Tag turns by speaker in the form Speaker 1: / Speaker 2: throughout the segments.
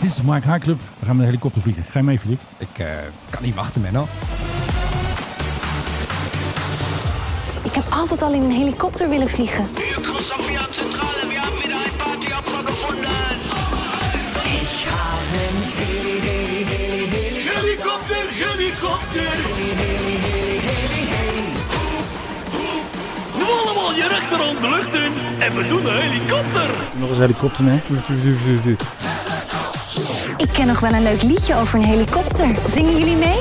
Speaker 1: Dit is de Mark Haar Club. We gaan met een helikopter vliegen. Ga je mee, Filip?
Speaker 2: Ik eh, kan niet wachten, Menno.
Speaker 3: Ik heb altijd al in een helikopter willen vliegen.
Speaker 4: Hier Kurs auf die Zentrale, wir haben wieder ein Partyopfer gefunden.
Speaker 5: Helikopter, helikopter. Nu allemaal je rechterhand de lucht in en we doen een helikopter.
Speaker 1: Nog eens helikopter, hè?
Speaker 3: Ik ken nog wel een leuk liedje over een helikopter. Zingen jullie mee?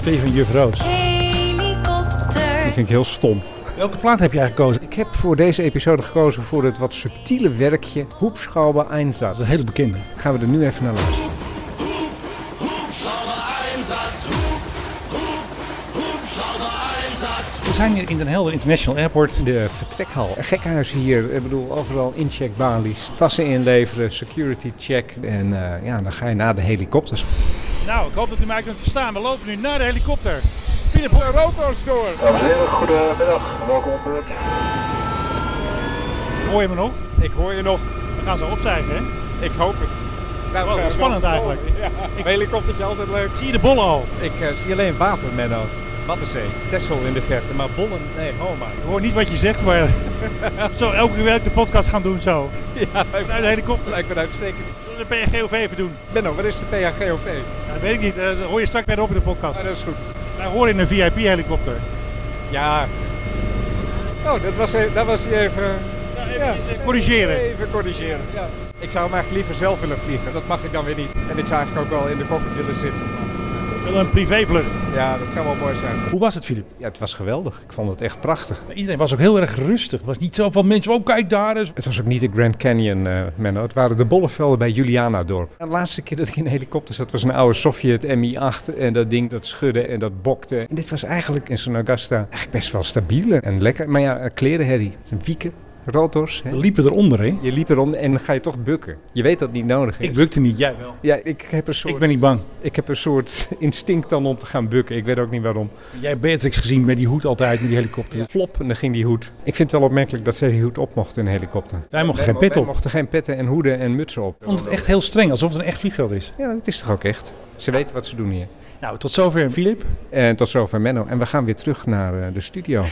Speaker 1: Steven Juf Roos.
Speaker 3: Helikopter.
Speaker 2: Vind ik heel stom.
Speaker 1: Welke plaat heb jij gekozen?
Speaker 2: Ik heb voor deze episode gekozen voor het wat subtiele werkje Hoepschouwer Einsatz.
Speaker 1: Dat is een hele bekende.
Speaker 2: Gaan we er nu even naar luisteren.
Speaker 1: We zijn hier in Den Helder International Airport.
Speaker 2: De vertrekhal. Een gekhuis hier. Ik bedoel, overal incheckbalies. Tassen inleveren, security check. En eh, ja, dan ga je naar de helikopters.
Speaker 1: Nou, ik hoop dat u mij kunt verstaan. We lopen nu naar de helikopter. Philip, de rotors door.
Speaker 6: Dames en heren, goedemiddag. Welkom op beurt.
Speaker 1: Hoor je me nog?
Speaker 7: Ik hoor je nog.
Speaker 1: We gaan zo opstijgen, hè?
Speaker 7: Ik hoop het. Nou,
Speaker 1: Wow, wat spannend eigenlijk.
Speaker 7: Ja, een helikoptertje altijd leuk.
Speaker 1: Zie je de bollen al?
Speaker 7: Ik eh, zie alleen water, Menno. Waddenzee, Texel in de verte, maar bollen, nee, oh
Speaker 1: Ik
Speaker 7: my.
Speaker 1: hoor niet wat je zegt, maar zo elke week de podcast gaan doen zo.
Speaker 7: Ja,
Speaker 1: Uit de helikopter.
Speaker 7: lijkt me uitstekend.
Speaker 1: Zullen we de PNGOV even doen?
Speaker 7: Menno, wat is de PHGOV?
Speaker 1: Ja, dat weet ik niet. Dat hoor je straks bij de op in de podcast.
Speaker 7: Ah, dat is goed.
Speaker 1: Wij horen in een VIP-helikopter.
Speaker 7: Ja. Oh, dat was, e- dat was die even... Ja,
Speaker 1: corrigeren.
Speaker 7: Even corrigeren, ja. Ik zou hem eigenlijk liever zelf willen vliegen, dat mag ik dan weer niet. En ik zou eigenlijk ook wel in de cockpit willen zitten.
Speaker 1: Wel een privévlucht.
Speaker 7: Ja, dat zou wel mooi zijn.
Speaker 1: Hoe was het, Filip?
Speaker 2: Ja, het was geweldig. Ik vond het echt prachtig.
Speaker 1: Iedereen was ook heel erg rustig. Het was niet zo van mensen, oh kijk daar eens.
Speaker 2: Het was ook niet de Grand Canyon, eh Menno. Het waren de bollenvelden bij Julianadorp. De laatste keer dat ik in een helikopter zat was een oude Sovjet Mi-8. En dat ding dat schudde en dat bokte. En dit was eigenlijk in zo'n Augusta eigenlijk best wel stabiel en lekker. Maar ja, eh, klerenherrie. Wieken, rotors. Hè.
Speaker 1: We liepen eronder, hè?
Speaker 2: Je liep erom en dan ga je toch bukken. Je weet dat het niet nodig is.
Speaker 1: Ik bukte niet, jij wel.
Speaker 2: ja, ik heb, een soort,
Speaker 1: Ik ben niet bang.
Speaker 2: ik heb een soort instinct dan om te gaan bukken. Ik weet ook niet waarom.
Speaker 1: Jij hebt Beatrix gezien met die hoed altijd, met die helikopter.
Speaker 2: Flop, en dan ging die hoed. Ik vind het wel opmerkelijk dat zij die hoed op mocht in een helikopter.
Speaker 1: Wij mochten geen
Speaker 2: Wij
Speaker 1: pit op. Ik
Speaker 2: mochten geen petten en hoeden en mutsen op.
Speaker 1: vond het echt heel streng, alsof het een echt vliegveld is.
Speaker 2: Ja, dat is toch ook echt. Ze weten wat ze doen hier.
Speaker 1: Nou, tot zover, Filip.
Speaker 2: En tot zover Menno. En we gaan weer terug naar eh, de studio.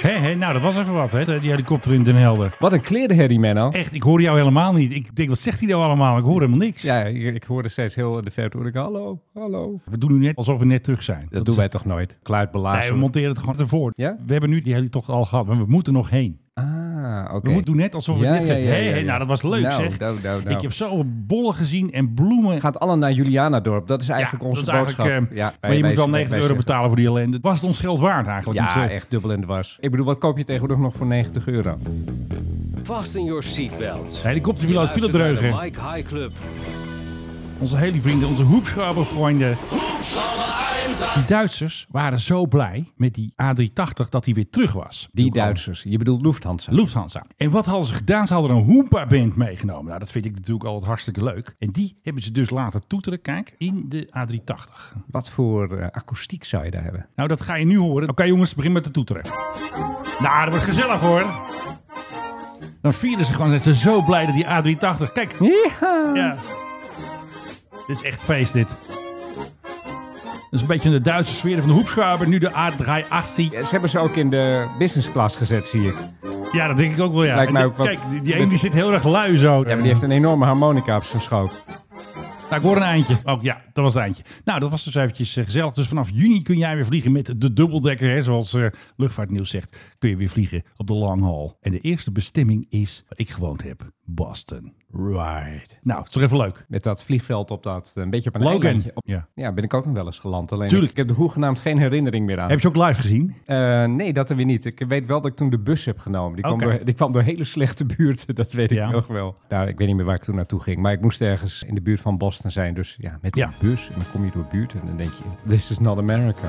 Speaker 1: Hé, hé, nou, dat was even wat, hè? Die helikopter in Den Helder.
Speaker 2: Wat een klerenherrie, Menno.
Speaker 1: Echt, ik hoor jou helemaal niet. Ik denk, wat zegt hij nou allemaal? Ik hoor helemaal niks.
Speaker 2: Ja, ik, ik hoorde steeds heel in de verte hoorde ik, hallo, hallo. Dat,
Speaker 1: We doen nu net alsof we net terug zijn.
Speaker 2: doen wij toch nooit? Kluitbelazen.
Speaker 1: Nee, we monteren het gewoon ervoor.
Speaker 2: Ja?
Speaker 1: We hebben nu die helitocht al gehad, maar we moeten nog heen.
Speaker 2: ah, oké.
Speaker 1: We moeten doen net alsof we
Speaker 2: Ja,
Speaker 1: dit...
Speaker 2: ja,
Speaker 1: gaan-
Speaker 2: ja,
Speaker 1: Hé,
Speaker 2: ja,
Speaker 1: hé,
Speaker 2: ja.
Speaker 1: nou, dat was leuk,
Speaker 2: Nou,
Speaker 1: zeg.
Speaker 2: nou, nou, nou.
Speaker 1: Ik heb zoveel bollen gezien en bloemen.
Speaker 2: Gaat alle naar Julianadorp. Dat is eigenlijk
Speaker 1: Ja,
Speaker 2: onze
Speaker 1: dat is
Speaker 2: boodschap.
Speaker 1: eigenlijk, eh,
Speaker 2: ja, wij-
Speaker 1: maar je
Speaker 2: wij-
Speaker 1: moet wel
Speaker 2: wij
Speaker 1: 90 euro
Speaker 2: zeggen-
Speaker 1: betalen voor die ellende. Was het ons geld waard eigenlijk? Dus,
Speaker 2: Ja,
Speaker 1: eh,
Speaker 2: echt dubbel en dwars. Ik bedoel, wat koop je tegenwoordig nog voor 90 euro?
Speaker 8: Fasten your seatbelts.
Speaker 1: de helikopterpiloot viel het dreugen.
Speaker 8: Mike High Club.
Speaker 1: Onze hele vrienden, onze hoepschraubervrienden. Die Duitsers waren zo blij met die A380 dat hij weer terug was.
Speaker 2: Die
Speaker 1: Duitsers.
Speaker 2: Duitsers. Je bedoelt Lufthansa.
Speaker 1: Lufthansa. En wat hadden ze gedaan? Ze hadden een Hoompa-band meegenomen. Nou, dat vind ik natuurlijk altijd hartstikke leuk. En die hebben ze dus laten toeteren, kijk, in de A380.
Speaker 2: Wat voor eh, akoestiek zou je daar hebben?
Speaker 1: Nou, dat ga je nu horen. Oké jongens, begin met te toeteren. Nou, dat wordt gezellig hoor. Dan vierden ze gewoon, zijn ze zo blij dat die A380... Kijk. Ja. Dit is echt feest dit. Dat is een beetje de Duitse sfeer van de hoepschuiber. Nu de A380.
Speaker 2: Ja, ze hebben ze ook in de business class gezet, zie ik.
Speaker 1: Ja, dat denk ik ook wel ja.
Speaker 2: Lijkt mij
Speaker 1: En
Speaker 2: ook wat-
Speaker 1: Kijk, die, die ene die zit heel erg lui zo.
Speaker 2: Ja, maar die heeft een enorme harmonica op zijn schoot.
Speaker 1: Nou, ik hoor een eindje. Oh ja, dat was het eindje. Nou, dat was dus eventjes eh, gezellig. Dus vanaf juni kun jij weer vliegen met de dubbeldekker. Hè, zoals eh, Luchtvaartnieuws zegt, kun je weer vliegen op de long haul. En de eerste bestemming is waar ik gewoond heb, Boston.
Speaker 2: Right.
Speaker 1: Nou, is toch even leuk?
Speaker 2: Met dat vliegveld op dat, een beetje op een
Speaker 1: Logan.
Speaker 2: eilandje. Op-
Speaker 1: Ja.
Speaker 2: Ja, ben ik ook nog wel eens geland. Alleen
Speaker 1: Tuurlijk.
Speaker 2: ik heb er hoegenaamd geen herinnering meer aan.
Speaker 1: Heb je ook live gezien?
Speaker 2: Eh, nee, dat er weer niet. Ik weet wel dat ik toen de bus heb genomen. Die,
Speaker 1: Oké.
Speaker 2: kwam, door, die kwam door hele slechte buurten, dat weet
Speaker 1: Ja.
Speaker 2: ik nog wel. Nou, ik weet niet meer waar ik toen naartoe ging. Maar ik moest ergens in de buurt van Boston zijn. Dus ja, met
Speaker 1: Ja.
Speaker 2: de bus. En dan kom je door buurten en dan denk je, this is not America.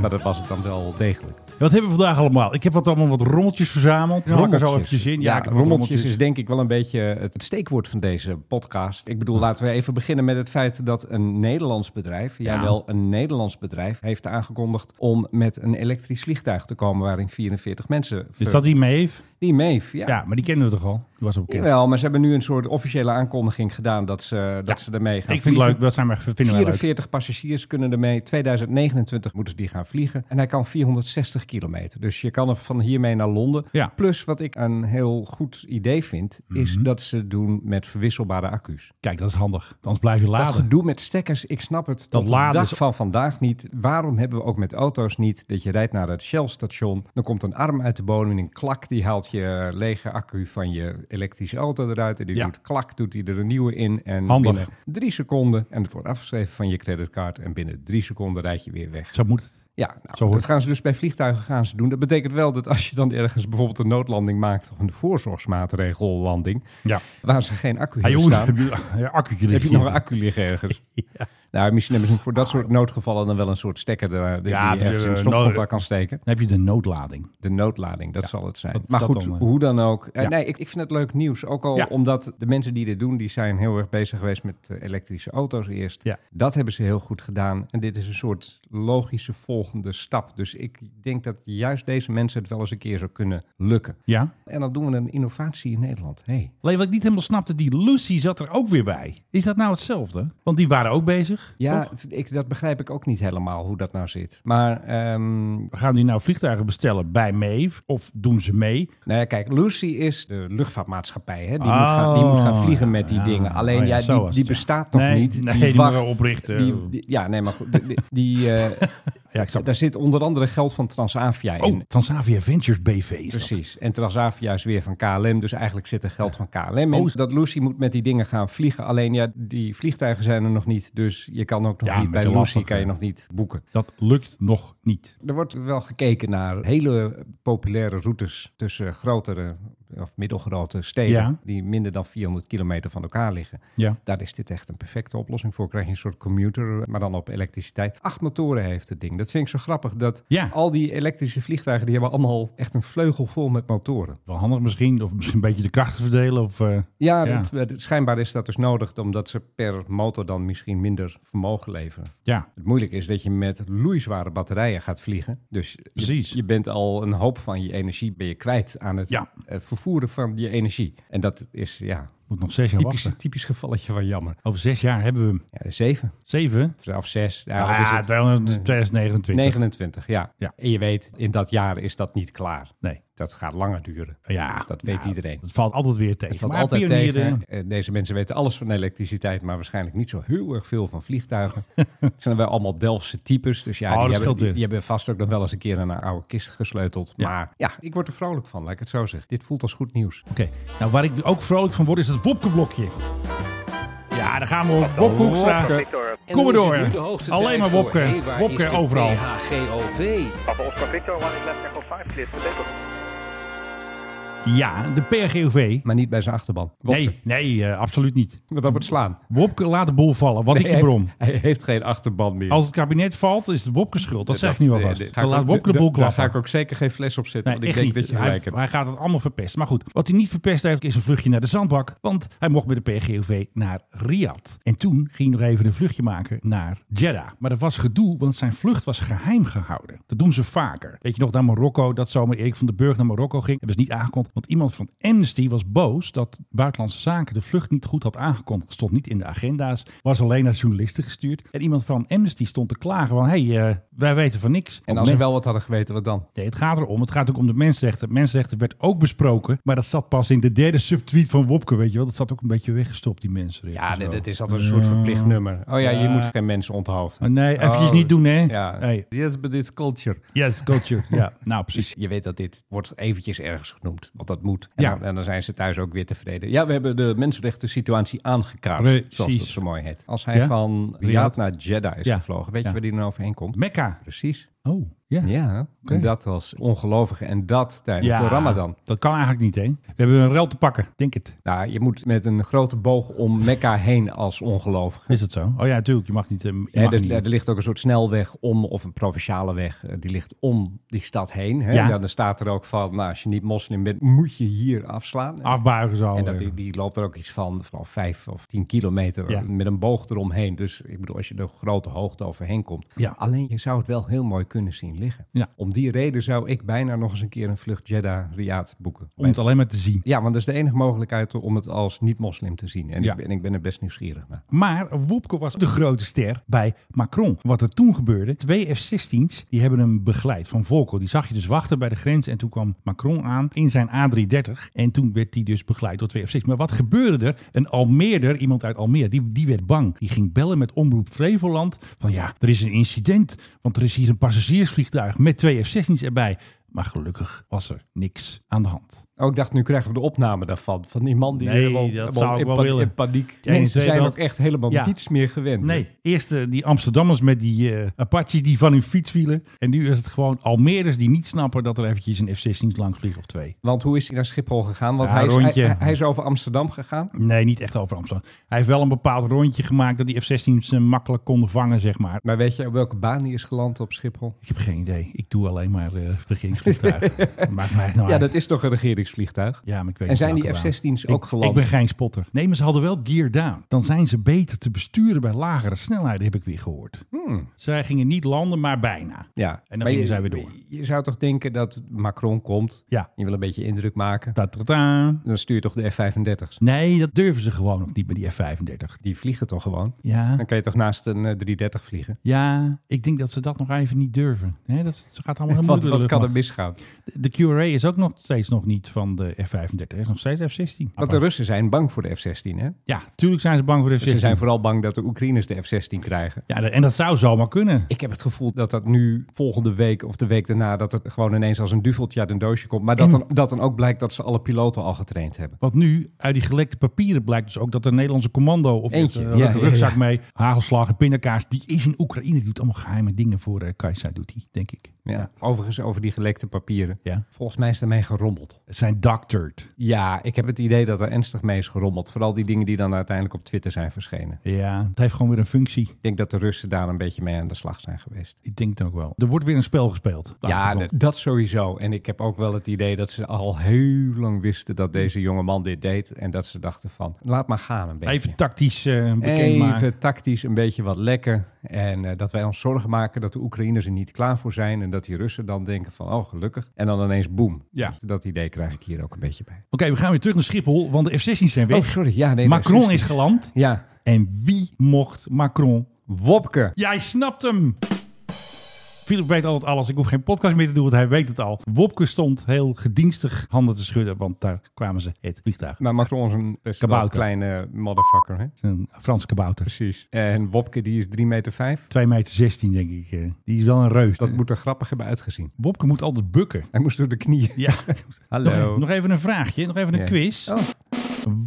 Speaker 2: Maar dat was het dan wel degelijk.
Speaker 1: Wat hebben we vandaag allemaal? Ik heb wat allemaal wat rommeltjes verzameld. Hou ik er zo eventjes in.
Speaker 2: Ja,
Speaker 1: ik heb wat
Speaker 2: rommeltjes
Speaker 1: dus-
Speaker 2: is denk ik wel een beetje het het steekwoord van deze podcast. Ik bedoel, laten we even beginnen met het feit dat een Nederlands bedrijf, ja.
Speaker 1: Ja.
Speaker 2: jawel, een Nederlands bedrijf, heeft aangekondigd om met een elektrisch vliegtuig te komen waarin 44 mensen.
Speaker 1: Is Dus dat die mee?
Speaker 2: die mee? Ja.
Speaker 1: Ja, maar die kennen we toch al? Die was ook bekend.
Speaker 2: Jawel, maar ze hebben nu een soort officiële aankondiging gedaan dat ze, dat
Speaker 1: Ja.
Speaker 2: ze ermee gaan
Speaker 1: ik vind het
Speaker 2: vliegen.
Speaker 1: leuk. Dat zijn we, vinden wij leuk.
Speaker 2: 44 passagiers kunnen ermee. 2029 moeten ze die gaan vliegen. En hij kan 460 kilometer. Dus je kan er van hiermee naar Londen.
Speaker 1: Ja. Mhm.
Speaker 2: Plus wat ik een heel goed idee vind, is dat ze het doen met verwisselbare accu's.
Speaker 1: Kijk, dat is handig. Anders blijf je
Speaker 2: Dat
Speaker 1: laden.
Speaker 2: gedoe met stekkers, ik snap het. Tot de
Speaker 1: laden
Speaker 2: dag
Speaker 1: is-
Speaker 2: van vandaag niet. Waarom hebben we ook met auto's niet dat je rijdt naar het Shell-station, dan komt een arm uit de bodem en een klak die haalt je eh, lege accu van je elektrische auto eruit en die
Speaker 1: Ja.
Speaker 2: doet klak, doet hij er een nieuwe in en
Speaker 1: Handig.
Speaker 2: binnen drie seconden en het wordt afgeschreven van je creditcard en binnen drie seconden rijd je weer weg.
Speaker 1: Zo moet het.
Speaker 2: Ja, nou,
Speaker 1: Zo hoort
Speaker 2: dat gaan ze dus bij vliegtuigen gaan ze doen. Dat betekent wel dat als je dan ergens bijvoorbeeld een noodlanding maakt of een voorzorgsmaatregel landing,
Speaker 1: Ja.
Speaker 2: waar ze geen accu
Speaker 1: Hey,
Speaker 2: hebben
Speaker 1: jongens,
Speaker 2: staan,
Speaker 1: heb je, ja, accu'tje
Speaker 2: heb je
Speaker 1: liggen
Speaker 2: nog
Speaker 1: hier.
Speaker 2: een accu liggen ergens. Nou, misschien hebben ze voor dat soort noodgevallen dan wel een soort stekker daar, die
Speaker 1: Ja,
Speaker 2: je ergens in een
Speaker 1: eh,
Speaker 2: stopcontact
Speaker 1: nood-
Speaker 2: kan steken.
Speaker 1: Dan heb je de noodlading.
Speaker 2: De noodlading, dat zal het zijn.
Speaker 1: dat-
Speaker 2: maar
Speaker 1: dat
Speaker 2: goed,
Speaker 1: dan, eh.
Speaker 2: hoe dan ook. Eh,
Speaker 1: Ja.
Speaker 2: Nee, ik, ik vind het leuk nieuws. Ook al
Speaker 1: Ja.
Speaker 2: omdat de mensen die dit doen, die zijn heel erg bezig geweest met eh, elektrische auto's eerst.
Speaker 1: Ja.
Speaker 2: Dat hebben ze heel goed gedaan. En dit is een soort logische volgende stap. Dus ik denk dat juist deze mensen het wel eens een keer zou kunnen lukken.
Speaker 1: Ja.
Speaker 2: En dan doen we een innovatie in Nederland. Hey.
Speaker 1: Alleen wat ik niet helemaal snapte, die Lucy zat er ook weer bij. Is dat nou hetzelfde? Want die waren ook bezig.
Speaker 2: Ja,
Speaker 1: toch?
Speaker 2: ik, dat begrijp ik ook niet helemaal hoe dat nou zit. Maar ehm,
Speaker 1: Gaan die nou vliegtuigen bestellen bij Maeve? Of doen ze mee?
Speaker 2: Nou ja, kijk, Lucy is de luchtvaartmaatschappij. Hè? Die,
Speaker 1: Oh,
Speaker 2: moet gaan, die moet gaan vliegen met die
Speaker 1: ja.
Speaker 2: dingen. Alleen
Speaker 1: Oh ja,
Speaker 2: ja,
Speaker 1: zo was
Speaker 2: die,
Speaker 1: het,
Speaker 2: die
Speaker 1: ja.
Speaker 2: bestaat nog
Speaker 1: Nee,
Speaker 2: niet.
Speaker 1: nee, die moeten we oprichten.
Speaker 2: die- die- ja, nee, maar goed. die- die, die, eh,
Speaker 1: Ja, ik snap
Speaker 2: daar zit onder andere geld van Transavia
Speaker 1: Oh,
Speaker 2: in.
Speaker 1: Transavia Ventures BV is dat.
Speaker 2: Precies. En Transavia is weer van KLM. Dus eigenlijk zit er geld van KLM in.
Speaker 1: Oh.
Speaker 2: Dat Lucy moet met die dingen gaan vliegen. Alleen ja, die vliegtuigen zijn er nog niet. Dus je kan ook nog
Speaker 1: Ja,
Speaker 2: niet.
Speaker 1: met
Speaker 2: Bij
Speaker 1: de
Speaker 2: Lucy
Speaker 1: lastige-
Speaker 2: kan je nog niet boeken.
Speaker 1: Dat lukt nog niet.
Speaker 2: Er wordt wel gekeken naar hele populaire routes tussen grotere of middelgrote steden
Speaker 1: Ja.
Speaker 2: die minder dan 400 kilometer van elkaar liggen.
Speaker 1: Ja.
Speaker 2: Daar is dit echt een perfecte oplossing voor. Krijg je een soort commuter, maar dan op elektriciteit. Acht motoren heeft het ding. Dat vind ik zo grappig dat
Speaker 1: Ja.
Speaker 2: al die elektrische vliegtuigen die hebben allemaal echt een vleugel vol met motoren.
Speaker 1: Wel handig misschien. Of misschien een beetje de krachten verdelen. Of, eh,
Speaker 2: Ja,
Speaker 1: Ja.
Speaker 2: dat- eh, schijnbaar is dat dus nodig omdat ze per motor dan misschien minder vermogen leveren.
Speaker 1: ja,
Speaker 2: Het moeilijke is dat je met loeizware batterijen gaat vliegen. Dus je-
Speaker 1: Precies.
Speaker 2: Je, bent al een hoop van je energie ben je kwijt aan het
Speaker 1: Ja.
Speaker 2: eh, vervoeren van je energie. En dat is ja,
Speaker 1: moet nog zes jaar
Speaker 2: typisch,
Speaker 1: wachten.
Speaker 2: typisch gevalletje van jammer.
Speaker 1: Over zes jaar hebben we hem.
Speaker 2: Ja, zeven
Speaker 1: Zeven? Ah, eh,
Speaker 2: of zes. Ja, wat
Speaker 1: Nou Ja,
Speaker 2: is het?
Speaker 1: 2029.
Speaker 2: 29, ja.
Speaker 1: Ja.
Speaker 2: En je weet, in dat jaar is dat niet klaar.
Speaker 1: Nee.
Speaker 2: Dat gaat langer duren.
Speaker 1: Ja,
Speaker 2: Dat weet
Speaker 1: nou,
Speaker 2: iedereen.
Speaker 1: Dat valt altijd weer tegen.
Speaker 2: Het valt
Speaker 1: Maar
Speaker 2: altijd
Speaker 1: pionieren-
Speaker 2: tegen. Eh, Deze mensen weten alles van elektriciteit, maar waarschijnlijk niet zo heel erg veel van vliegtuigen. Het zijn wel allemaal Delftse types, dus ja,
Speaker 1: Oh, dat
Speaker 2: die,
Speaker 1: scheelt
Speaker 2: hebben,
Speaker 1: weer.
Speaker 2: die hebben vast ook nog wel eens een keer aan een oude kist gesleuteld.
Speaker 1: Ja.
Speaker 2: Maar ja, ik word er vrolijk van, laat ik het zo zeggen. Dit voelt als goed nieuws.
Speaker 1: Oké, nou waar ik ook vrolijk van word is dat Wopke-blokje. Ja, daar gaan we op. Wopke Hoekstra.
Speaker 8: En
Speaker 1: Kom maar
Speaker 8: dan is
Speaker 1: door.
Speaker 8: het nu de hoogste
Speaker 1: Alleen
Speaker 8: tijd
Speaker 1: maar
Speaker 8: voor
Speaker 1: Wopke.
Speaker 8: Hey, waar
Speaker 1: Wopke
Speaker 8: is de
Speaker 1: overal.
Speaker 8: PHGOV.
Speaker 6: Papa Oscar Victor, one is left echo 5, clear for takeoff.
Speaker 1: Ja, de PRGOV.
Speaker 2: Maar niet bij zijn achterban. Wopke,
Speaker 1: Nee, nee, eh, absoluut niet.
Speaker 2: Want dat wordt slaan.
Speaker 1: Wopke laat de boel vallen. Wat ik
Speaker 2: hij,
Speaker 1: je brom.
Speaker 2: heeft, hij heeft geen achterban meer.
Speaker 1: Als het kabinet valt, is het Wopke schuld. Dat zeg ik nu
Speaker 2: eh,
Speaker 1: alvast. Dan
Speaker 2: dit- ga ik
Speaker 1: laat
Speaker 2: ook-
Speaker 1: Wopke de
Speaker 2: da-
Speaker 1: boel
Speaker 2: Daar ga
Speaker 1: klappen.
Speaker 2: ik ook zeker geen fles op zetten,
Speaker 1: Nee,
Speaker 2: want ik
Speaker 1: echt
Speaker 2: denk
Speaker 1: niet.
Speaker 2: dat je
Speaker 1: hij,
Speaker 2: gelijk hebt.
Speaker 1: hij gaat het allemaal verpesten. Maar goed, wat hij niet verpest heeft, is een vluchtje naar de zandbak. Want hij mocht met de PGOV naar Riyadh. En toen ging hij nog even een vluchtje maken naar Jeddah. Maar dat was gedoe, want zijn vlucht was geheim gehouden. Dat doen ze vaker. Weet je nog, naar Marokko, dat zomaar Erik van den Burg naar Marokko ging. Hebben ze niet aangekondigd. Want iemand van Amnesty was boos dat Buitenlandse Zaken de vlucht niet goed had aangekondigd. Stond niet in de agenda's. Was alleen naar journalisten gestuurd. En iemand van Amnesty stond te klagen van... hé, hey, eh, wij weten van niks.
Speaker 2: En als ze wel wat hadden geweten, wat dan?
Speaker 1: Nee, het gaat erom. Het gaat ook om de mensenrechten. Mensenrechten werd ook besproken, maar dat zat pas in de derde subtweet van Wopke, weet je wel. Dat zat ook een beetje weggestopt, die mensenrechten.
Speaker 2: Ja,
Speaker 1: Zo.
Speaker 2: dit, dit is altijd een soort verplicht nummer. Oh ja, je
Speaker 1: Ja.
Speaker 2: moet geen mensen onthoofden.
Speaker 1: Oh, nee, eventjes
Speaker 2: Oh,
Speaker 1: niet doen, hè.
Speaker 2: Ja.
Speaker 1: Nee.
Speaker 2: Yes, but it's culture.
Speaker 1: Yes, culture. ja, nou
Speaker 2: Dus
Speaker 1: precies.
Speaker 2: je weet dat dit wordt eventjes ergens genoemd, want dat moet. En,
Speaker 1: Ja.
Speaker 2: dan, en dan zijn ze thuis ook weer tevreden. Ja, we hebben de mensenrechten situatie aangekaart,
Speaker 1: Precies.
Speaker 2: zoals dat zo mooi heet. Als hij
Speaker 1: Ja?
Speaker 2: van
Speaker 1: Riyadh.
Speaker 2: Riyadh naar Jeddah is
Speaker 1: Ja.
Speaker 2: gevlogen, weet
Speaker 1: Ja.
Speaker 2: je waar die dan overheen komt?
Speaker 1: Mekka.
Speaker 2: Precies.
Speaker 1: Oh, ja.
Speaker 2: Ja, en dat als ongelovige en dat tijdens
Speaker 1: Ja,
Speaker 2: de Ramadan.
Speaker 1: Dat kan eigenlijk niet, hè? We hebben een rel te pakken, denk het.
Speaker 2: Nou, je moet met een grote boog om Mekka heen als ongelovige.
Speaker 1: Is dat zo? Oh ja, natuurlijk. Je mag niet. eh, Je
Speaker 2: Hè,
Speaker 1: mag
Speaker 2: er,
Speaker 1: niet.
Speaker 2: er ligt ook een soort snelweg om, of een provinciale weg, eh, die ligt om die stad heen. Hè?
Speaker 1: Ja.
Speaker 2: En dan staat er ook van, nou, als je niet moslim bent, moet je hier afslaan.
Speaker 1: Afbuigen zo. eh,
Speaker 2: En dat, die, die loopt er ook iets van, van vijf of tien kilometer
Speaker 1: Ja.
Speaker 2: met een boog eromheen. Dus ik bedoel, als je de grote hoogte overheen komt.
Speaker 1: Ja.
Speaker 2: Alleen je zou het wel heel mooi kunnen zien liggen.
Speaker 1: Ja.
Speaker 2: Om die reden zou ik bijna nog eens een keer een vlucht Jeddah Riyadh boeken.
Speaker 1: Om het alleen maar te zien.
Speaker 2: Ja, want dat is de enige mogelijkheid om het als niet-moslim te zien. En
Speaker 1: Ja.
Speaker 2: ik, ben, ik ben er best nieuwsgierig naar.
Speaker 1: Maar Wopke was de grote ster bij Macron. Wat er toen gebeurde, twee F-16's die hebben hem begeleid van Volkel. Die zag je dus wachten bij de grens en toen kwam Macron aan in zijn A330. En toen werd die dus begeleid door twee F-16's. Maar wat gebeurde er? Een Almeerder, iemand uit Almere, die, die werd bang. Die ging bellen met Omroep Flevoland van ja, er is een incident. Want er is hier een passagiersvliegtuig met twee F-16's erbij. Maar gelukkig was er niks aan de hand.
Speaker 2: Oh, ik dacht, nu krijgen we de opname daarvan. Van die man die
Speaker 1: Nee,
Speaker 2: helemaal,
Speaker 1: dat
Speaker 2: helemaal
Speaker 1: zou ik
Speaker 2: in,
Speaker 1: wel
Speaker 2: pa-
Speaker 1: willen.
Speaker 2: in paniek.
Speaker 1: Eén,
Speaker 2: Mensen
Speaker 1: twee,
Speaker 2: zijn
Speaker 1: dat-
Speaker 2: ook echt helemaal
Speaker 1: Ja.
Speaker 2: niets meer gewend.
Speaker 1: Nee, eerst eh, die Amsterdammers met die eh Apaches die van hun fiets vielen. En nu is het gewoon Almeerders die niet snappen dat er eventjes een F-16 langs vliegt of twee.
Speaker 2: Want hoe is hij naar Schiphol gegaan? Want
Speaker 1: Ja,
Speaker 2: hij, is,
Speaker 1: rondje.
Speaker 2: hij, hij is over Amsterdam gegaan.
Speaker 1: Nee, niet echt over Amsterdam. Hij heeft wel een bepaald rondje gemaakt dat die F-16's eh, makkelijk konden vangen, zeg maar.
Speaker 2: Maar weet je op welke baan hij is geland op Schiphol?
Speaker 1: Ik heb geen idee. Ik doe alleen maar eh regeringsvliegtuigen. Dat Maakt mij nou
Speaker 2: Ja,
Speaker 1: uit.
Speaker 2: dat is toch een regeringsvliegtuig?
Speaker 1: Ja, maar ik weet
Speaker 2: En
Speaker 1: niet
Speaker 2: zijn die
Speaker 1: welke
Speaker 2: F-16's
Speaker 1: baan.
Speaker 2: ook
Speaker 1: Ik-
Speaker 2: geland?
Speaker 1: Ik ben geen spotter. Nee, maar ze hadden wel gear down. Dan zijn ze beter te besturen bij lagere snelheden, heb ik weer gehoord.
Speaker 2: Hmm.
Speaker 1: Zij gingen niet landen, maar bijna.
Speaker 2: Ja.
Speaker 1: dan
Speaker 2: Maar
Speaker 1: gingen
Speaker 2: je-
Speaker 1: zij weer door.
Speaker 2: Je zou toch denken dat Macron komt.
Speaker 1: Ja.
Speaker 2: Je wil een beetje indruk maken.
Speaker 1: Ta-ta-ta.
Speaker 2: Dan stuur je toch de F-35's.
Speaker 1: Nee, dat durven ze gewoon nog niet bij die F-35.
Speaker 2: Die vliegen toch gewoon?
Speaker 1: Ja,
Speaker 2: Dan kan je toch naast een eh, 330 vliegen?
Speaker 1: ja, ik denk dat ze dat nog even niet durven. Hè, dat ze gaat allemaal helemaal
Speaker 2: Wat,
Speaker 1: door de
Speaker 2: wat kan er
Speaker 1: luchtmacht. Ah,
Speaker 2: misgaan?
Speaker 1: De QRA is ook nog steeds nog niet van de F-35. Er is nog steeds F-16.
Speaker 2: Want de Russen zijn bang voor de F-16, hè?
Speaker 1: Ja, natuurlijk zijn ze bang voor de F-16.
Speaker 2: Ze zijn vooral bang dat de Oekraïners de F-16 krijgen.
Speaker 1: Ja, en dat zou zomaar kunnen.
Speaker 2: Ik heb het gevoel dat dat nu volgende week of de week daarna... dat het gewoon ineens als een duveltje uit een doosje komt. Maar dat
Speaker 1: En-
Speaker 2: dan, dat dan ook blijkt dat ze alle piloten al getraind hebben.
Speaker 1: Want nu, uit die gelekte papieren blijkt dus ook dat de Nederlandse commando op
Speaker 2: Eentje,
Speaker 1: de
Speaker 2: ja, ja, ja.
Speaker 1: rugzak mee, hagelslagen, pindakaas, die is in Oekraïne. Die doet allemaal geheime dingen voor eh Kajsa, doet hij, denk ik.
Speaker 2: Ja. Overigens over die gelekte papieren.
Speaker 1: Ja.
Speaker 2: Volgens mij is daarmee gerommeld.
Speaker 1: Het zijn doctored.
Speaker 2: Ja, ik heb het idee dat er ernstig mee is gerommeld. Vooral die dingen die dan uiteindelijk op Twitter zijn verschenen.
Speaker 1: Ja, het heeft gewoon weer een functie.
Speaker 2: Ik denk dat de Russen daar een beetje mee aan de slag zijn geweest.
Speaker 1: Ik denk het ook wel. Er wordt weer een spel gespeeld.
Speaker 2: Ja,
Speaker 1: Achtergrond.
Speaker 2: dat, dat sowieso. En ik heb ook wel het idee dat ze al heel lang wisten dat deze jonge man dit deed. En dat ze dachten van, laat maar gaan een beetje.
Speaker 1: Even tactisch eh bekend
Speaker 2: Even
Speaker 1: maken.
Speaker 2: tactisch een beetje wat lekker. En eh, dat wij ons zorgen maken dat de Oekraïners er niet klaar voor zijn. En dat die Russen dan denken van, oh gelukkig. En dan ineens boem.
Speaker 1: Ja.
Speaker 2: Dat idee krijg ik hier ook een beetje bij.
Speaker 1: Oké, we gaan weer terug naar Schiphol, want de F-16's zijn weg.
Speaker 2: Oh, sorry. Ja, nee,
Speaker 1: Macron
Speaker 2: dat
Speaker 1: is geland.
Speaker 2: Ja,
Speaker 1: En wie mocht Macron?
Speaker 2: Wopke.
Speaker 1: Jij snapt hem! Philip weet altijd alles. Ik hoef geen podcast meer te doen, want hij weet het al. Wopke stond heel gedienstig handen te schudden, want daar kwamen ze het vliegtuig.
Speaker 2: Maar Macron is een best wel
Speaker 1: Kabouter.
Speaker 2: kleine motherfucker, hè?
Speaker 1: Een Frans kabouter.
Speaker 2: Precies. En Wopke, die is 3,5 meter. Vijf.
Speaker 1: 2 meter 16, denk ik. eh. Die is wel een reus.
Speaker 2: Dat moet er grappig hebben uitgezien.
Speaker 1: Wopke moet altijd bukken.
Speaker 2: Hij moest door de knieën.
Speaker 1: Ja.
Speaker 2: Hallo.
Speaker 1: Nog, nog even een vraagje, nog even een
Speaker 2: Ja.
Speaker 1: quiz.
Speaker 2: Oh.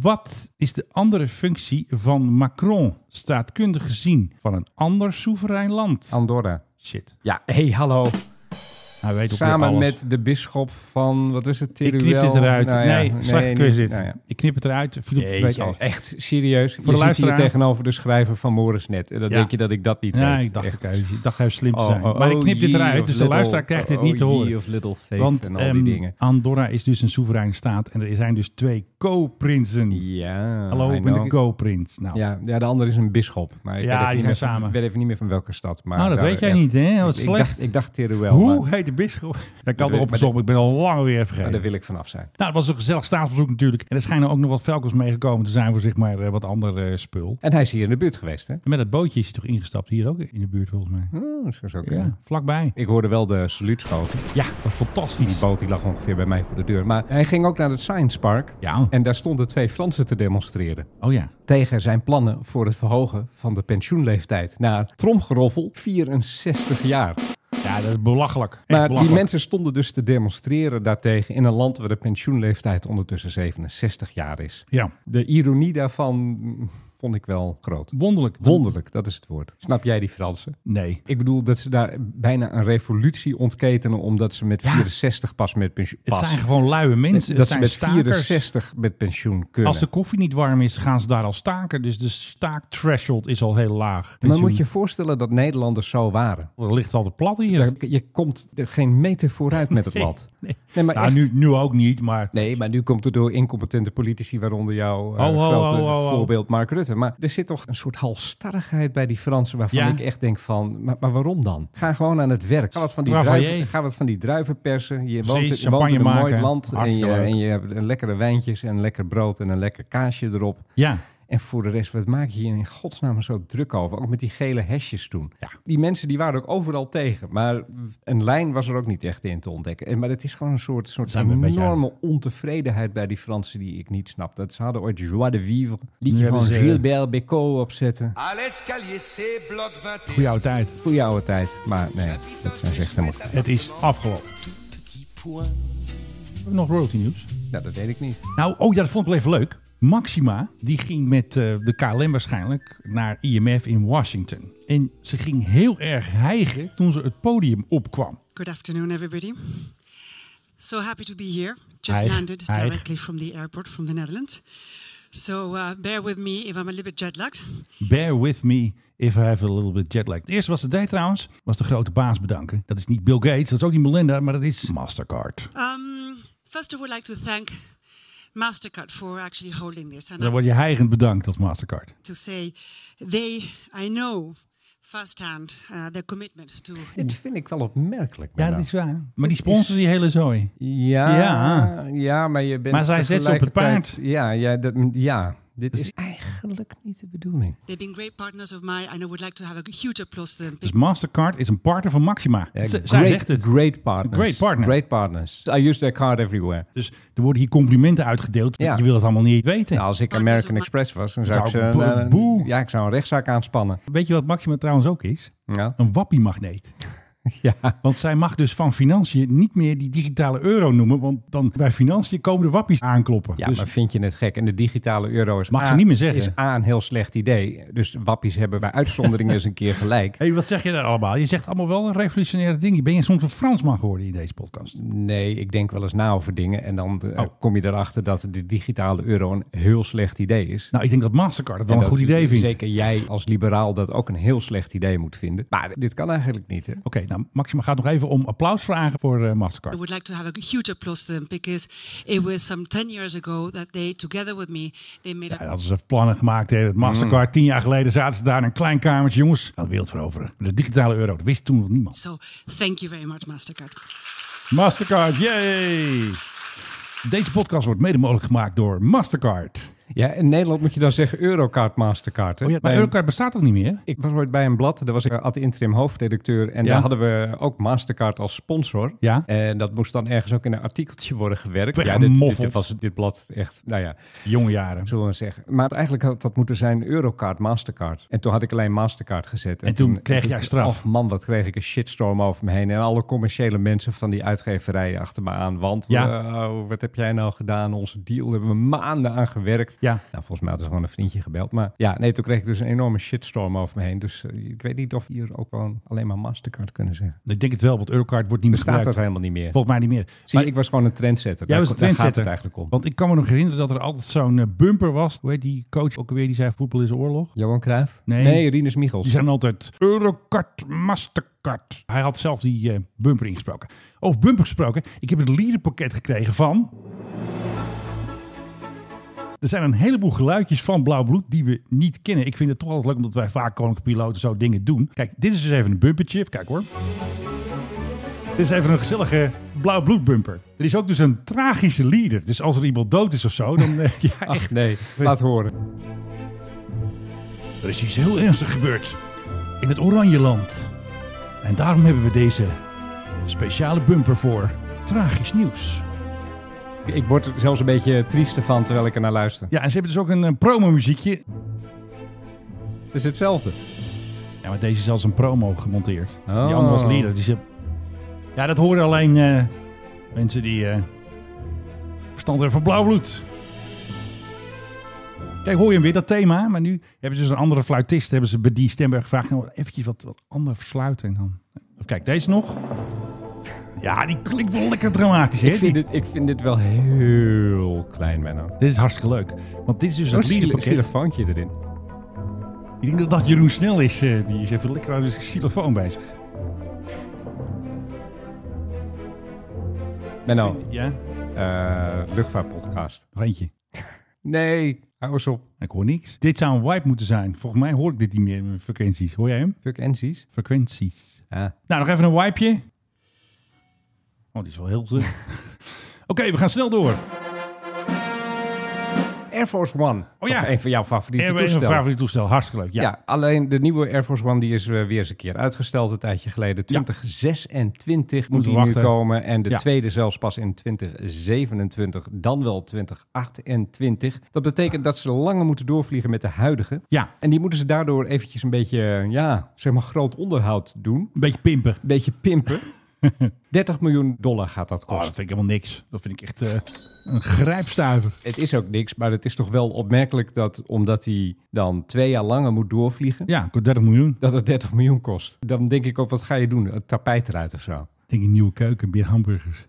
Speaker 1: Wat is de andere functie van Macron, staatkundig gezien, van een ander soeverein land?
Speaker 2: Andorra.
Speaker 1: Shit.
Speaker 2: Ja, hey, hallo.
Speaker 1: Hij weet ook weer
Speaker 2: Samen
Speaker 1: alles.
Speaker 2: met de bisschop van, wat is het,
Speaker 1: Ik
Speaker 2: Teruel?
Speaker 1: knip dit eruit.
Speaker 2: Nou ja,
Speaker 1: nee, slechte
Speaker 2: niet-
Speaker 1: quiz dit.
Speaker 2: nou ja.
Speaker 1: Ik knip het eruit. Philip weet
Speaker 2: Jeetje,
Speaker 1: alles.
Speaker 2: echt serieus.
Speaker 1: de
Speaker 2: Voor je zit hier
Speaker 1: luisteraar.
Speaker 2: tegenover de schrijver van Morris net. En dan
Speaker 1: Ja.
Speaker 2: denk je dat ik dat niet
Speaker 1: Ja,
Speaker 2: weet.
Speaker 1: ik dacht,
Speaker 2: Echt.
Speaker 1: ik, even- ik dacht even slim te
Speaker 2: Oh,
Speaker 1: zijn.
Speaker 2: oh,
Speaker 1: maar ik knip dit
Speaker 2: oh,
Speaker 1: eruit,
Speaker 2: ye
Speaker 1: dus
Speaker 2: of
Speaker 1: de
Speaker 2: little-
Speaker 1: luisteraar krijgt dit
Speaker 2: oh,
Speaker 1: niet te
Speaker 2: oh, ye
Speaker 1: horen.
Speaker 2: of little faith
Speaker 1: Want
Speaker 2: en al die
Speaker 1: ehm,
Speaker 2: dingen.
Speaker 1: Andorra is dus een soeverein staat en er zijn dus twee co-prinsen.
Speaker 2: Ja,
Speaker 1: Hallo,
Speaker 2: I
Speaker 1: ik ben de
Speaker 2: know.
Speaker 1: co-prins. Nou,
Speaker 2: Ja, ja, de andere is een bisschop. Maar ik
Speaker 1: Ja,
Speaker 2: weet even
Speaker 1: die zijn
Speaker 2: niet meer van-
Speaker 1: samen.
Speaker 2: Ik weet even niet meer van welke stad. Maar
Speaker 1: Nou, dat
Speaker 2: daar-
Speaker 1: weet jij
Speaker 2: ja.
Speaker 1: niet, hè? Wat
Speaker 2: ik,
Speaker 1: slecht.
Speaker 2: dacht, ik dacht Teruel,
Speaker 1: Hoe
Speaker 2: maar,
Speaker 1: heet de bisschop? Daar kan
Speaker 2: weet-
Speaker 1: erop
Speaker 2: maar
Speaker 1: gezocht, ik ben al lang weer
Speaker 2: maar
Speaker 1: vergeten.
Speaker 2: daar wil ik vanaf zijn.
Speaker 1: Nou, het was een gezellig staatsbezoek natuurlijk. En er schijnen ook nog wat velkens meegekomen te zijn voor zeg maar eh, wat ander eh, spul.
Speaker 2: En hij is hier in de buurt geweest, hè?
Speaker 1: En met dat bootje is hij toch ingestapt? Hier ook in de buurt volgens mij.
Speaker 2: Hmm, dat zou zo kunnen.
Speaker 1: Ja, vlakbij.
Speaker 2: Ik hoorde wel de saluutschoten.
Speaker 1: Ja, fantastisch.
Speaker 2: Die boot die lag ongeveer bij mij voor de deur. Maar hij ging ook naar het Science Park.
Speaker 1: Ja.
Speaker 2: En daar stonden twee Fransen te demonstreren.
Speaker 1: Oh ja.
Speaker 2: Tegen zijn plannen voor het verhogen van de pensioenleeftijd. Naar tromgeroffel 64 jaar.
Speaker 1: Ja, dat is belachelijk. Echt
Speaker 2: maar die
Speaker 1: belachelijk.
Speaker 2: mensen stonden dus te demonstreren daartegen in een land waar de pensioenleeftijd ondertussen 67 jaar is.
Speaker 1: Ja.
Speaker 2: De ironie daarvan mm, vond ik wel groot.
Speaker 1: Wonderlijk.
Speaker 2: Wonderlijk, dat is het woord. Snap jij die Fransen?
Speaker 1: Nee.
Speaker 2: Ik bedoel dat ze daar bijna een revolutie ontketenen omdat ze met
Speaker 1: Ja.
Speaker 2: 64 pas met pensioen
Speaker 1: Het
Speaker 2: pas.
Speaker 1: zijn gewoon luie mensen.
Speaker 2: dat
Speaker 1: het
Speaker 2: ze
Speaker 1: zijn
Speaker 2: met
Speaker 1: stakers.
Speaker 2: 64 met pensioen kunnen.
Speaker 1: Als de koffie niet warm is, gaan ze daar al staken. Dus de staak-threshold is al heel laag.
Speaker 2: maar moet je je voorstellen dat Nederlanders zo waren?
Speaker 1: Er ligt al te plat hier.
Speaker 2: Je komt er geen meter vooruit met het
Speaker 1: Nee,
Speaker 2: land.
Speaker 1: nee.
Speaker 2: Nee, maar
Speaker 1: Nou,
Speaker 2: echt.
Speaker 1: nu, nu ook niet, maar...
Speaker 2: Nee, maar nu komt het door incompetente politici, waaronder jouw eh,
Speaker 1: Ho, ho,
Speaker 2: grote
Speaker 1: ho, ho, ho.
Speaker 2: voorbeeld Mark Rutte. Maar er zit toch een soort halstarrigheid bij die Fransen waarvan
Speaker 1: Ja.
Speaker 2: ik echt denk van, maar, maar waarom dan? Ga gewoon aan het werk. Ga wat van die,
Speaker 1: Travailler.
Speaker 2: druiven, ga wat van die druiven persen. Je woont,
Speaker 1: Precies,
Speaker 2: je woont in een
Speaker 1: champagne
Speaker 2: mooi
Speaker 1: maken.
Speaker 2: land en je,
Speaker 1: Hartstikke leuk.
Speaker 2: en je hebt een lekkere wijntjes en lekker brood en een lekker kaasje erop.
Speaker 1: Ja,
Speaker 2: En voor de rest, wat maak je hier in godsnaam zo druk over? Ook met die gele hesjes toen. Die mensen die waren ook overal tegen. Maar een lijn was er ook niet echt in te ontdekken. En, maar het is gewoon een soort, soort
Speaker 1: Zijn we een beetje
Speaker 2: enorme ontevredenheid bij die Fransen die ik niet snap. Dat ze hadden ooit joie de vivre.
Speaker 1: Nu
Speaker 2: Liedje van
Speaker 1: hebben ze-
Speaker 2: Gilbert Bécaud opzetten.
Speaker 1: goede oude tijd.
Speaker 2: Goeie oude tijd. Maar nee, dat zijn ze echt helemaal...
Speaker 1: Het is afgelopen. Hebben we Nog royalty nieuws.
Speaker 2: Nou, dat weet ik niet.
Speaker 1: Nou, oh ja, dat vond ik wel even leuk. Maxima, die ging met eh, de KLM waarschijnlijk naar IMF in Washington. En ze ging heel erg hijgen toen ze het podium opkwam.
Speaker 9: Good afternoon, everybody. So happy to be here. Just
Speaker 1: Hijg,
Speaker 9: landed
Speaker 1: hijg.
Speaker 9: directly from the airport from the Netherlands. So uh, bear with me if I'm a little bit jet lagged.
Speaker 1: Bear with me if I have a little bit jet lag. Het eerste wat ze deed trouwens, was de grote baas bedanken. Dat is niet Bill Gates, dat is ook niet Melinda, maar dat is Mastercard.
Speaker 9: Um, first, I would like to thank MasterCard for actually holding this. And
Speaker 1: Dan
Speaker 9: I
Speaker 1: word je hijgend bedankt als Mastercard.
Speaker 9: to say they, I know firsthand uh, their commitment to
Speaker 2: Dit vind ik wel opmerkelijk.
Speaker 1: Ja,
Speaker 2: Menno.
Speaker 1: dat is waar. Maar die sponsor die hele zooi.
Speaker 2: Ja,
Speaker 1: Ja.
Speaker 2: ja. maar je bent
Speaker 1: Maar zij zet ze op het
Speaker 2: tegelijkertijd- Ja, ja, dat, ja, dit is eigenlijk niet de bedoeling.
Speaker 9: They've been great partners of mine, and I would like to have a huge applause to them.
Speaker 1: Dus Mastercard is een partner van Maxima.
Speaker 2: Ja,
Speaker 1: Z-
Speaker 2: great,
Speaker 1: Zij zegt het.
Speaker 2: Great partners.
Speaker 1: Great partner.
Speaker 2: Great partners. I use their card everywhere.
Speaker 1: Dus er worden hier complimenten uitgedeeld.
Speaker 2: Ja.
Speaker 1: Je wil het allemaal niet weten.
Speaker 2: Nou, als ik American Express was, dan zou,
Speaker 1: Zou
Speaker 2: ik ze een,
Speaker 1: bo-
Speaker 2: een-
Speaker 1: boe.
Speaker 2: ja, ik zou een rechtszaak aanspannen.
Speaker 1: Weet je wat Maxima trouwens ook is?
Speaker 2: Ja.
Speaker 1: Een wappiemagneet.
Speaker 2: ja.
Speaker 1: Want zij mag dus van financiën niet meer die digitale euro noemen. Want dan bij financiën komen de wappies aankloppen.
Speaker 2: Ja,
Speaker 1: dus
Speaker 2: maar vind je het gek? En de digitale euro is,
Speaker 1: Mag je
Speaker 2: A,
Speaker 1: niet meer zeggen.
Speaker 2: is A een heel slecht idee. Dus wappies hebben bij uitzondering eens een keer gelijk.
Speaker 1: hey, wat zeg je daar allemaal? Je zegt allemaal wel een revolutionaire ding. Ben je soms een Fransman geworden in deze podcast?
Speaker 2: Nee, ik denk wel eens na over dingen. En dan
Speaker 1: Oh.
Speaker 2: eh, kom je erachter dat de digitale euro een heel slecht idee is.
Speaker 1: Nou, ik denk dat Mastercard het wel
Speaker 2: En
Speaker 1: een goed
Speaker 2: dat
Speaker 1: idee vindt.
Speaker 2: Zeker jij als liberaal dat ook een heel slecht idee moet vinden. Maar dit kan eigenlijk niet, hè?
Speaker 1: Oké, nou Maxima gaat nog even om applaus vragen voor eh,
Speaker 9: I
Speaker 1: Mastercard.
Speaker 9: would like to have a huge applause to them because it was some 10 years ago that they, together with me, they made
Speaker 1: Ja,
Speaker 9: a
Speaker 1: dat ze plannen gemaakt hebben. Het Mastercard,
Speaker 2: Mm.
Speaker 1: tien jaar geleden zaten ze daar in een klein kamertje. Jongens, gaan de wereld veroveren. De digitale euro, dat wist toen nog niemand.
Speaker 9: So thank you very much, MasterCard.
Speaker 1: Mastercard, yay! Deze podcast wordt mede mogelijk gemaakt door Mastercard.
Speaker 2: Ja, in Nederland moet je dan zeggen Eurocard, Mastercard. Hè?
Speaker 1: Oh ja, maar
Speaker 2: Bij-
Speaker 1: Eurocard bestaat toch niet meer?
Speaker 2: Ik was ooit bij een blad, daar was ik eh, ad interim hoofdredacteur. En
Speaker 1: Ja.
Speaker 2: daar hadden we ook Mastercard als sponsor.
Speaker 1: Ja.
Speaker 2: En dat moest dan ergens ook in een artikeltje worden gewerkt. Ja, dit, dit,
Speaker 1: Weggemoffeld.
Speaker 2: dit was dit blad echt, nou ja,
Speaker 1: Jonge jaren.
Speaker 2: zullen we zeggen. Maar het eigenlijk had dat moeten zijn Eurocard, Mastercard. En toen had ik alleen Mastercard gezet.
Speaker 1: En toen kreeg jij straf.
Speaker 2: Och man, wat kreeg ik een shitstorm over me heen. En alle commerciële mensen van die uitgeverijen achter me aan. Want
Speaker 1: Ja.
Speaker 2: eh, wat heb jij nou gedaan? Onze deal daar hebben we maanden aan gewerkt.
Speaker 1: Ja.
Speaker 2: Nou, volgens mij hadden ze gewoon een vriendje gebeld. Maar ja, nee, toen kreeg ik dus een enorme shitstorm over me heen. Dus eh, ik weet niet of we hier ook gewoon alleen maar Mastercard kunnen zeggen.
Speaker 1: Ik denk het wel, want Eurocard wordt niet meer
Speaker 2: Bestaat dat
Speaker 1: gebruikt.
Speaker 2: helemaal niet meer.
Speaker 1: Volgens mij niet meer.
Speaker 2: Zie, je, ik was gewoon een trendsetter.
Speaker 1: Jij
Speaker 2: Daar-
Speaker 1: was de
Speaker 2: daar gaat
Speaker 1: trendsetter. Oh.
Speaker 2: het eigenlijk om.
Speaker 1: Want ik kan me nog herinneren dat er altijd zo'n eh, bumper was. Hoe heet die coach ook alweer? Die zei voetbal is oorlog.
Speaker 2: Johan Cruijff?
Speaker 1: Nee.
Speaker 2: Rinus Michels.
Speaker 1: Die zijn altijd Eurocard, Mastercard. Hij had zelf die eh, bumper ingesproken. Over bumper gesproken. Ik heb het lierenpakket gekregen van... Er zijn een heleboel geluidjes van Blauw Bloed die we niet kennen. Ik vind het toch altijd leuk omdat wij vaak koninklijke piloten zo dingen doen. Kijk, dit is dus even een bumpertje. Even kijken hoor. Dit is even een gezellige Blauw Bloed bumper. Er is ook dus een tragische lieder. Dus als er iemand dood is of zo, dan... eh, ja,
Speaker 2: Ach
Speaker 1: echt.
Speaker 2: nee, laat horen.
Speaker 1: Er is iets heel ernstigs gebeurd in het Oranjeland. En daarom hebben we deze speciale bumper voor tragisch nieuws.
Speaker 2: Ik word er zelfs een beetje triester van terwijl ik er naar luister.
Speaker 1: Ja, en ze hebben dus ook een, eh, promo-muziekje.
Speaker 2: Het is hetzelfde.
Speaker 1: Ja, maar deze is als een promo gemonteerd.
Speaker 2: Oh.
Speaker 1: Die andere was leader. Die ze... Ja, dat horen alleen eh, mensen die eh, verstand hebben van blauw bloed. Kijk, hoor je hem weer, dat thema. Maar nu hebben ze dus een andere fluitist, hebben ze bij die Stemberg gevraagd. Nou, eventjes wat, wat andere fluiten. En dan... Kijk, deze nog. Ja, die klinkt wel lekker dramatisch, hè?
Speaker 2: Ik vind,
Speaker 1: Die-
Speaker 2: dit, ik vind dit wel heel klein, Menno.
Speaker 1: Dit is hartstikke leuk. Want dit is dus
Speaker 2: Zo'n
Speaker 1: het
Speaker 2: zielig
Speaker 1: liederpakket.
Speaker 2: telefoontje erin.
Speaker 1: Ik denk dat dat Jeroen Snel is. eh, die is even lekker aan zijn xylofoon bezig.
Speaker 2: Menno,
Speaker 1: Ja?
Speaker 2: eh, luchtvaartpodcast.
Speaker 1: Nog eentje.
Speaker 2: Nee, hou eens op.
Speaker 1: Ik hoor niks. Dit zou een wipe moeten zijn. Volgens mij hoor ik dit niet meer in mijn frequenties. Hoor jij hem?
Speaker 2: Fuck Enzies.
Speaker 1: Frequenties.
Speaker 2: Ah.
Speaker 1: Nou, nog even een wipeje. Oh, die is wel heel... Oké, we gaan snel door.
Speaker 2: Air Force One.
Speaker 1: Oh ja.
Speaker 2: Toch Een van jouw favoriete
Speaker 1: Er is een
Speaker 2: toestellen.
Speaker 1: favoriet toestel. Hartstikke leuk. Ja.
Speaker 2: Ja. alleen de nieuwe Air Force One die is eh, weer eens een keer uitgesteld een tijdje geleden. 2026 moet
Speaker 1: Moeten
Speaker 2: die
Speaker 1: we
Speaker 2: nu
Speaker 1: wachten.
Speaker 2: komen. En de
Speaker 1: Ja.
Speaker 2: tweede zelfs pas in 2027, dan wel 2028. Dat betekent dat ze langer moeten doorvliegen met de huidige.
Speaker 1: Ja,
Speaker 2: En die moeten ze daardoor eventjes een beetje, eh, ja, zeg maar groot onderhoud doen.
Speaker 1: een beetje pimpen.
Speaker 2: Een beetje pimpen. 30 miljoen dollar gaat dat
Speaker 1: Oh, dat
Speaker 2: kosten.
Speaker 1: vind ik helemaal niks. Dat vind ik echt eh, een grijpstuiver.
Speaker 2: Het is ook niks, maar het is toch wel opmerkelijk dat omdat hij dan twee jaar langer moet doorvliegen,
Speaker 1: Ja, ik hoor 30 miljoen.
Speaker 2: dat het 30 miljoen kost. Dan denk ik ook, wat ga je doen? Het tapijt eruit of zo.
Speaker 1: Ik denk een nieuwe keuken, meer hamburgers.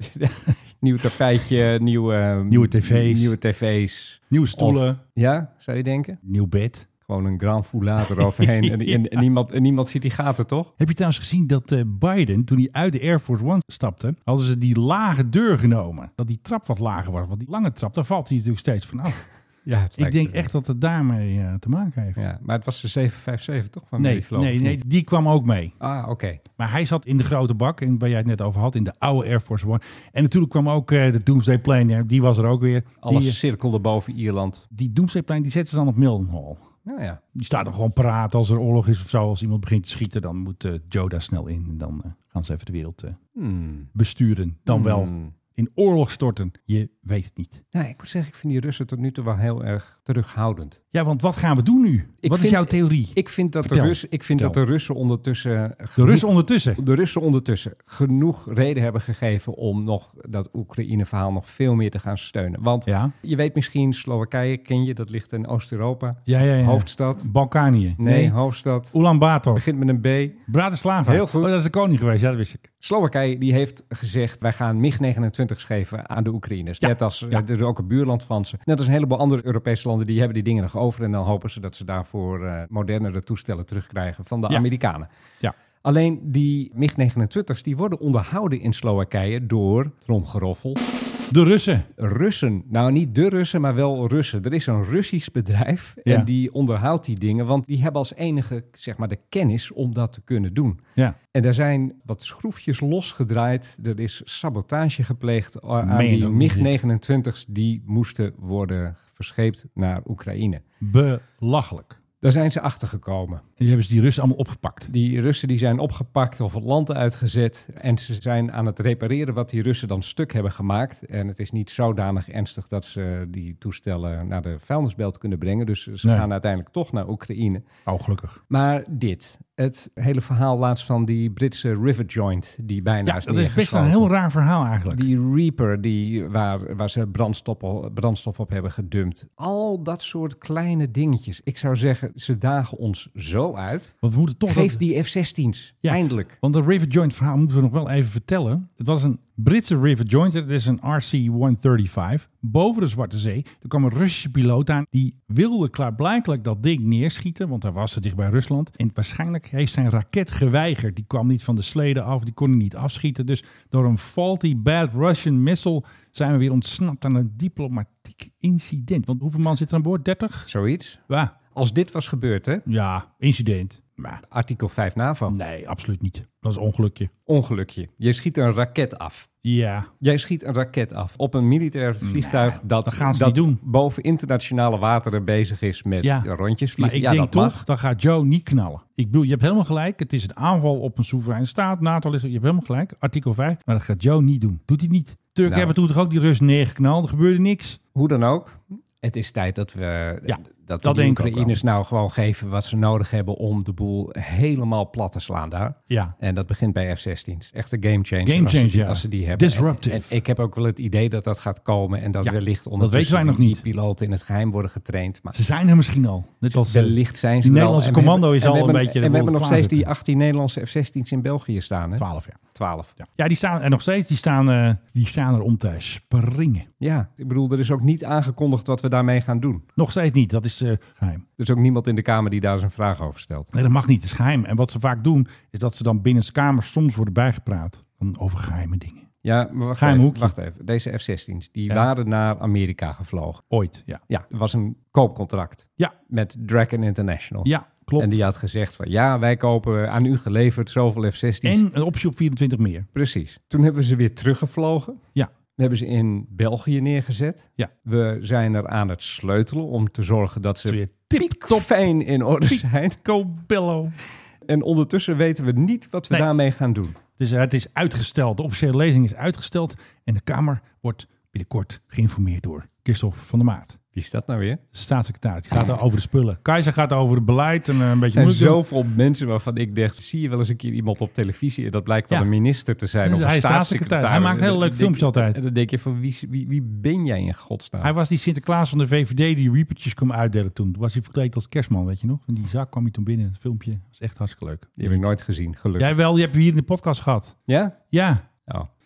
Speaker 2: Nieuw tapijtje, nieuwe... ehm,
Speaker 1: Nieuwe tv's.
Speaker 2: Nieuwe tv's.
Speaker 1: Nieuwe stoelen.
Speaker 2: Of- ja, zou je denken?
Speaker 1: Nieuw bed.
Speaker 2: Gewoon een grand foulard eroverheen. en, en, en niemand, en niemand ziet die gaten, toch?
Speaker 1: Heb je trouwens gezien dat eh, Biden, toen hij uit de Air Force One stapte, hadden ze die lage deur genomen. Dat die trap wat lager was. Want die lange trap, daar valt hij natuurlijk steeds van af.
Speaker 2: Ja, het
Speaker 1: ik
Speaker 2: lijkt
Speaker 1: denk
Speaker 2: er-
Speaker 1: echt dat het daarmee eh, te maken heeft.
Speaker 2: Ja, maar het was de 757, toch? Van
Speaker 1: Nee,
Speaker 2: Mary Flo,
Speaker 1: nee,
Speaker 2: of
Speaker 1: nee,
Speaker 2: niet?
Speaker 1: die kwam ook mee.
Speaker 2: Ah, oké.
Speaker 1: Maar hij zat in de grote bak, en waar jij het net over had, in de oude Air Force One. En natuurlijk kwam ook eh, de Doomsday Plane, hè, die was er ook weer.
Speaker 2: Alles
Speaker 1: Die, eh,
Speaker 2: cirkelde boven Ierland.
Speaker 1: die Doomsday Plane, die zetten ze dan op Mildenhall.
Speaker 2: Nou ja.
Speaker 1: Die staat dan gewoon paraat als er oorlog is of zo. Als iemand begint te schieten, dan moet eh Joda snel in. En dan eh, gaan ze even de wereld eh,
Speaker 2: Hmm.
Speaker 1: besturen. Dan wel in oorlog storten. Je weet het niet.
Speaker 2: Nou, ik moet zeggen, ik vind die Russen tot nu toe wel heel erg terughoudend.
Speaker 1: Ja, want wat gaan we doen nu?
Speaker 2: Ik
Speaker 1: wat
Speaker 2: vind-
Speaker 1: is jouw theorie?
Speaker 2: Ik vind dat, de,
Speaker 1: Vertel.
Speaker 2: Russen, ik vind dat
Speaker 1: Vertel.
Speaker 2: de Russen ondertussen...
Speaker 1: de Russen ondertussen.
Speaker 2: de Russen ondertussen genoeg reden hebben gegeven om nog dat Oekraïne-verhaal nog veel meer te gaan steunen. Want
Speaker 1: Ja.
Speaker 2: je weet misschien, Slowakije ken je, dat ligt in Oost-Europa.
Speaker 1: Ja, ja, ja.
Speaker 2: Hoofdstad.
Speaker 1: Balkanië.
Speaker 2: Nee, hoofdstad.
Speaker 1: Ulan Bator.
Speaker 2: Begint met een B.
Speaker 1: Bratislava.
Speaker 2: Heel goed.
Speaker 1: Oh, dat is de koning geweest. Ja, dat wist ik.
Speaker 2: Slowakije die heeft gezegd, wij gaan MiG-29's geven aan de Oekraïners.
Speaker 1: Ja,
Speaker 2: Net als,
Speaker 1: ja.
Speaker 2: eh, er is ook een buurland van ze. Net als een heleboel andere Europese landen, die hebben die dingen nog over. En dan hopen ze dat ze daarvoor eh modernere toestellen terugkrijgen van de
Speaker 1: Ja.
Speaker 2: Amerikanen.
Speaker 1: Ja.
Speaker 2: Alleen die MiG-29's, die worden onderhouden in Slowakije door, tromgeroffel,
Speaker 1: De Russen.
Speaker 2: Russen. Nou, niet de Russen, maar wel Russen. Er is een Russisch bedrijf
Speaker 1: Ja.
Speaker 2: en die onderhoudt die dingen. Want die hebben als enige, zeg maar, de kennis om dat te kunnen doen.
Speaker 1: Ja.
Speaker 2: En daar zijn wat schroefjes losgedraaid. Er is sabotage gepleegd eh, aan
Speaker 1: Meen
Speaker 2: die
Speaker 1: dat niet.
Speaker 2: MiG-29's die moesten worden verscheept naar Oekraïne.
Speaker 1: Belachelijk.
Speaker 2: Daar zijn ze achter gekomen.
Speaker 1: En die hebben ze die Russen allemaal opgepakt.
Speaker 2: Die Russen die zijn opgepakt of het land uitgezet. En ze zijn aan het repareren wat die Russen dan stuk hebben gemaakt. En het is niet zodanig ernstig dat ze die toestellen naar de vuilnisbelt kunnen brengen. Dus ze
Speaker 1: Nee.
Speaker 2: gaan uiteindelijk toch naar Oekraïne.
Speaker 1: Oh, gelukkig.
Speaker 2: Maar dit, het hele verhaal laatst van die Britse river joint die bijna
Speaker 1: Ja,
Speaker 2: is
Speaker 1: dat is best een
Speaker 2: neergeschoten.
Speaker 1: heel raar verhaal eigenlijk.
Speaker 2: Die Reaper die, waar, waar ze brandstof, op- brandstof op hebben gedumpt. Al dat soort kleine dingetjes. Ik zou zeggen, ze dagen ons zo uit.
Speaker 1: Want we moeten toch...
Speaker 2: Geef
Speaker 1: dat-
Speaker 2: die F-16's,
Speaker 1: Ja.
Speaker 2: eindelijk.
Speaker 1: Want dat River Joint verhaal moeten we nog wel even vertellen. Het was een Britse River Joint. Dat is een RC-135. Boven de Zwarte Zee. Er kwam een Russische piloot aan. Die wilde klaarblijkelijk dat ding neerschieten. Want hij was te dicht bij Rusland. En waarschijnlijk heeft zijn raket geweigerd. Die kwam niet van de sleden af. Die kon hij niet afschieten. Dus door een faulty bad Russian missile zijn we weer ontsnapt aan een diplomatiek incident. Want hoeveel man zit er aan boord? 30?
Speaker 2: Zoiets.
Speaker 1: Ja,
Speaker 2: Als dit was gebeurd, hè?
Speaker 1: ja incident. Maar
Speaker 2: Artikel 5 NAVO.
Speaker 1: nee, absoluut niet. Dat is een ongelukje.
Speaker 2: Ongelukje. Je schiet een raket af.
Speaker 1: Ja,
Speaker 2: Jij schiet een raket af op een militair vliegtuig dat,
Speaker 1: dat gaan ze
Speaker 2: dat
Speaker 1: niet doen.
Speaker 2: boven internationale wateren bezig is met
Speaker 1: Ja.
Speaker 2: rondjes
Speaker 1: Maar
Speaker 2: vliegen.
Speaker 1: ik
Speaker 2: ja,
Speaker 1: denk
Speaker 2: dat
Speaker 1: toch,
Speaker 2: mag.
Speaker 1: dan gaat Joe niet knallen. Ik bedoel, je hebt helemaal gelijk. Het is een aanval op een soevereine staat. NATO is, je hebt helemaal gelijk. Artikel 5. Maar dat gaat Joe niet doen. Doet hij niet. Turken
Speaker 2: Nou.
Speaker 1: hebben toen toch ook die Rus neergeknald. Er gebeurde niks.
Speaker 2: Hoe dan ook, het is tijd dat we
Speaker 1: Ja.
Speaker 2: dat,
Speaker 1: Dat
Speaker 2: we de
Speaker 1: denk ik ook
Speaker 2: Oekraïners nou gewoon geven wat ze nodig hebben om de boel helemaal plat te slaan daar.
Speaker 1: Ja.
Speaker 2: En dat begint bij F-16's. Echt een game changer.
Speaker 1: Game
Speaker 2: als ze die-
Speaker 1: changer, ja.
Speaker 2: Als ze die hebben.
Speaker 1: Disruptive.
Speaker 2: En, en ik heb ook wel het idee dat dat gaat komen. En dat
Speaker 1: Ja,
Speaker 2: wellicht
Speaker 1: dat
Speaker 2: ondertussen
Speaker 1: weten wij nog
Speaker 2: die-
Speaker 1: niet.
Speaker 2: die piloten in het geheim worden getraind. Maar
Speaker 1: Ze zijn er misschien al. Net als eh,
Speaker 2: wellicht zijn ze
Speaker 1: die
Speaker 2: er al.
Speaker 1: Nederlandse
Speaker 2: En we
Speaker 1: commando
Speaker 2: hebben-
Speaker 1: is
Speaker 2: en we
Speaker 1: al een
Speaker 2: hebben-
Speaker 1: beetje de
Speaker 2: En we hebben
Speaker 1: boel
Speaker 2: nog
Speaker 1: klaar
Speaker 2: steeds die
Speaker 1: zitten.
Speaker 2: 18 Nederlandse F-16's in België staan. Hè?
Speaker 1: 12 jaar.
Speaker 2: 12.
Speaker 1: Ja, ja die staan er nog steeds. Die staan, eh, die staan er om te springen.
Speaker 2: Ja, ik bedoel, er is ook niet aangekondigd wat we daarmee gaan doen.
Speaker 1: Nog steeds niet. Dat is eh, geheim.
Speaker 2: Er is ook niemand in de Kamer die daar zijn vraag over stelt.
Speaker 1: Nee, dat mag niet. Het is geheim. En wat ze vaak doen, is dat ze dan binnen de kamer soms worden bijgepraat dan over geheime dingen.
Speaker 2: Ja, maar wacht
Speaker 1: Geheim
Speaker 2: even,
Speaker 1: hoekje.
Speaker 2: wacht even. Deze F-16's, die
Speaker 1: Ja.
Speaker 2: waren naar Amerika gevlogen.
Speaker 1: Ooit, ja.
Speaker 2: Ja, er was een koopcontract
Speaker 1: Ja,
Speaker 2: met Dragon International.
Speaker 1: ja klopt.
Speaker 2: En
Speaker 1: En,
Speaker 2: die had gezegd van, ja, wij kopen aan u geleverd zoveel F-16's.
Speaker 1: een optie op 24 meer.
Speaker 2: Precies. Toen hebben we ze weer teruggevlogen.
Speaker 1: Ja.
Speaker 2: We hebben ze in België neergezet.
Speaker 1: Ja.
Speaker 2: We zijn er aan het sleutelen om te zorgen dat
Speaker 1: Dat is
Speaker 2: ze
Speaker 1: weer tip-top.
Speaker 2: fijn in orde zijn.
Speaker 1: Cobello.
Speaker 2: En ondertussen weten we niet wat we
Speaker 1: Nee.
Speaker 2: daarmee gaan doen.
Speaker 1: Het is, het is uitgesteld. De officiële lezing is uitgesteld. En de Kamer wordt binnenkort geïnformeerd door Christophe van der Maat.
Speaker 2: Wie is dat nou weer?
Speaker 1: De staatssecretaris. Die gaat daar over de spullen. Keizer gaat over het beleid. En eh, een
Speaker 2: Er
Speaker 1: beetje
Speaker 2: zijn
Speaker 1: moeilijk doen.
Speaker 2: zoveel mensen waarvan ik dacht, zie je wel eens een keer iemand op televisie en dat blijkt dan
Speaker 1: Ja.
Speaker 2: een minister te zijn of
Speaker 1: Hij
Speaker 2: een
Speaker 1: is staatssecretaris.
Speaker 2: staatssecretaris.
Speaker 1: Hij maakt
Speaker 2: En dan
Speaker 1: hele leuke
Speaker 2: denk-
Speaker 1: filmpjes altijd.
Speaker 2: En dan denk je van, wie, wie, wie ben jij in godsnaam?
Speaker 1: Hij was die Sinterklaas van de VVD die reapertjes kwam uitdelen toen. Toen Was hij verkleed als kerstman, weet je nog? In die zaak kwam hij toen binnen. Het filmpje Dat was echt hartstikke leuk.
Speaker 2: Die heb ik nooit gezien, gelukkig.
Speaker 1: Jij wel, je hebt hier in de podcast gehad.
Speaker 2: Ja?
Speaker 1: Ja,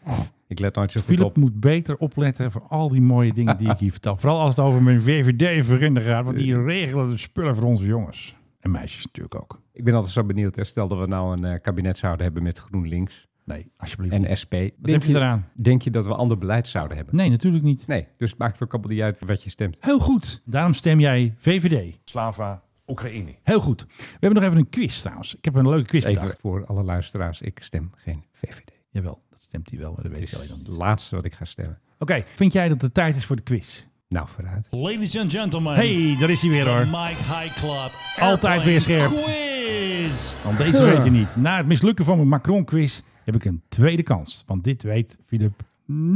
Speaker 2: Oh, ik let nooit zo goed
Speaker 1: Philip
Speaker 2: op.
Speaker 1: moet beter opletten voor al die mooie dingen die ik hier vertel. Vooral als het over mijn VVD-vrienden gaat. Want
Speaker 2: Eh.
Speaker 1: die regelen de spullen voor onze jongens. En meisjes natuurlijk ook.
Speaker 2: Ik ben altijd zo benieuwd. hè. Stel dat we nou een eh, kabinet zouden hebben met GroenLinks
Speaker 1: Nee, alsjeblieft. niet.
Speaker 2: en eh- SP.
Speaker 1: Wat heb je eraan?
Speaker 2: Denk je dat we ander beleid zouden hebben?
Speaker 1: Nee, natuurlijk niet.
Speaker 2: Nee, dus het maakt ook allemaal niet uit wat je stemt.
Speaker 1: Heel goed. Daarom stem jij VVD.
Speaker 5: Slava Oekraïne.
Speaker 1: Heel goed. We hebben nog even een quiz trouwens. Ik heb een leuke quiz
Speaker 2: Even
Speaker 1: bedacht.
Speaker 2: voor alle luisteraars, ik stem geen VVD.
Speaker 1: Jawel, dat stemt hij wel, maar dat weet
Speaker 2: Het is
Speaker 1: ik alleen nog
Speaker 2: Dus het
Speaker 1: niet.
Speaker 2: laatste wat ik ga stemmen.
Speaker 1: Oké, vind jij dat het tijd is voor de quiz?
Speaker 2: Nou, vooruit.
Speaker 10: Ladies and gentlemen,
Speaker 1: hey, daar is hij weer hoor.
Speaker 10: Mike High Club.
Speaker 1: Altijd weer scherp.
Speaker 10: Quiz.
Speaker 1: Want deze weet je niet. Na het mislukken van mijn Macron-quiz heb ik een tweede kans. Want dit weet Philip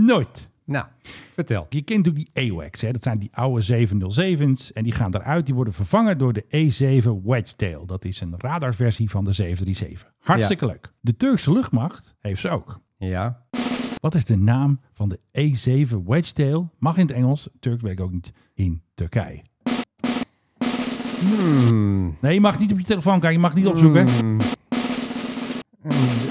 Speaker 1: nooit.
Speaker 2: Nou, vertel.
Speaker 1: Je kent natuurlijk die AWACS. Hè? Dat zijn die oude 707's. En die gaan eruit. Die worden vervangen door de E7 Wedgetail. Dat is een radarversie van de 737. Hartstikke leuk. De Turkse luchtmacht heeft ze ook.
Speaker 2: Ja,
Speaker 1: Wat is de naam van de E7 Wedgetail? Mag in het Engels, Turk weet ik ook niet, in Turkije. Nee, je mag niet op je telefoon kijken, je mag niet opzoeken. Hmm.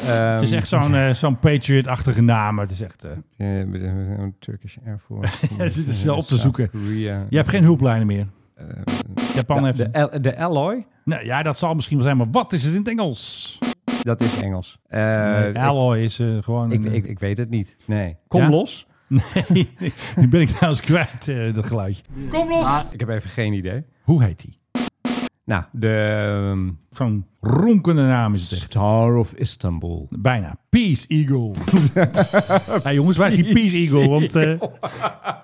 Speaker 2: Ehm,
Speaker 1: Het is echt zo'n eh, zo'n Patriot-achtige naam. Het is echt, eh,
Speaker 2: Een Turkish Air Force. Eh,
Speaker 1: Ja, zit er snel op te
Speaker 2: South
Speaker 1: zoeken.
Speaker 2: Korea.
Speaker 1: je hebt geen hulplijnen meer. Japan heeft...
Speaker 2: Eh, De, Al- de Alloy,
Speaker 1: Nou, ja, dat zal misschien wel zijn, maar wat is het in het Engels?
Speaker 2: dat is Engels. Eh,
Speaker 1: Nee,
Speaker 2: ik-
Speaker 1: alloy is eh, gewoon...
Speaker 2: ik,
Speaker 1: een,
Speaker 2: ik, ik weet het niet. Nee. Kom
Speaker 1: Ja?
Speaker 2: los.
Speaker 1: nee, die ben ik trouwens kwijt, eh, dat geluidje.
Speaker 2: Ik heb even geen idee.
Speaker 1: Hoe heet die?
Speaker 2: Nou, de ehm,
Speaker 1: Zo'n ronkende naam is het echt.
Speaker 2: Star of Istanbul.
Speaker 1: Bijna. Peace Eagle. hey jongens, waar is die Peace Eagle? Want, eh,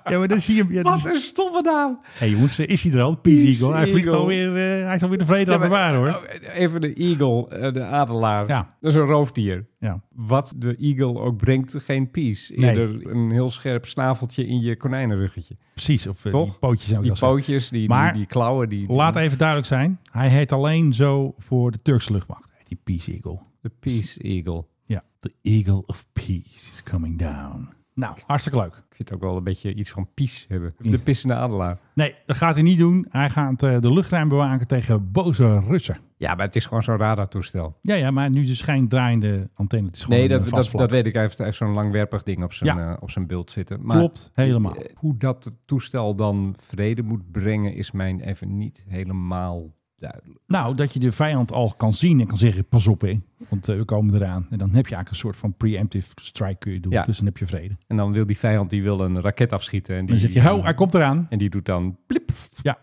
Speaker 1: ja, maar dan zie je hem. Ja, dat is-
Speaker 2: Wat een stomme naam.
Speaker 1: hey jongens, eh, is hij er al? Peace,
Speaker 2: Peace
Speaker 1: Eagle. Hij vliegt
Speaker 2: Eagle.
Speaker 1: alweer, eh, hij is alweer tevreden aan de bewaren hoor.
Speaker 2: Oh, Even de eagle, eh, de adelaar.
Speaker 1: Ja.
Speaker 2: Dat is een roofdier.
Speaker 1: Ja.
Speaker 2: Wat de eagle ook brengt, geen peace.
Speaker 1: Nee.
Speaker 2: Eerder een heel scherp snaveltje in je konijnenruggetje.
Speaker 1: Precies, of eh, die
Speaker 2: Toch?
Speaker 1: pootjes. Zou ik
Speaker 2: Die
Speaker 1: wel zeggen.
Speaker 2: pootjes, die,
Speaker 1: Maar-
Speaker 2: die, die klauwen. Die,
Speaker 1: Laat even duidelijk zijn, hij heet alleen zo voor de Turkse luchtmacht. Heet Die Peace Eagle.
Speaker 2: De peace eagle.
Speaker 1: Ja, the Eagle of Peace is coming down. Nou, hartstikke leuk.
Speaker 2: Ik vind het ook wel een beetje iets van peace hebben. De pissende adelaar.
Speaker 1: Nee, dat gaat hij niet doen. Hij gaat eh, de luchtruim bewaken tegen boze Russen.
Speaker 2: Ja, maar het is gewoon zo'n radartoestel.
Speaker 1: Ja, ja, maar nu dus geen draaiende antenne. Het is gewoon eh,
Speaker 2: Nee,
Speaker 1: een
Speaker 2: dat,
Speaker 1: vast
Speaker 2: dat,
Speaker 1: vlak.
Speaker 2: dat weet ik. Hij heeft, hij heeft zo'n langwerpig ding op zijn,
Speaker 1: Ja.
Speaker 2: eh, op zijn beeld zitten. Maar
Speaker 1: Klopt, helemaal.
Speaker 2: eh, Hoe dat toestel dan vrede moet brengen, is mijn even niet helemaal duidelijk.
Speaker 1: Nou, dat je de vijand al kan zien en kan zeggen, pas op hè, want eh, we komen eraan. En dan heb je eigenlijk een soort van preemptive strike kun je doen.
Speaker 2: Ja.
Speaker 1: Dus dan heb je vrede.
Speaker 2: En dan wil die vijand die wil een raket afschieten. En die, eh,
Speaker 1: Dan zeg je, ho, hij komt eraan.
Speaker 2: En die doet dan plip.
Speaker 1: Ja.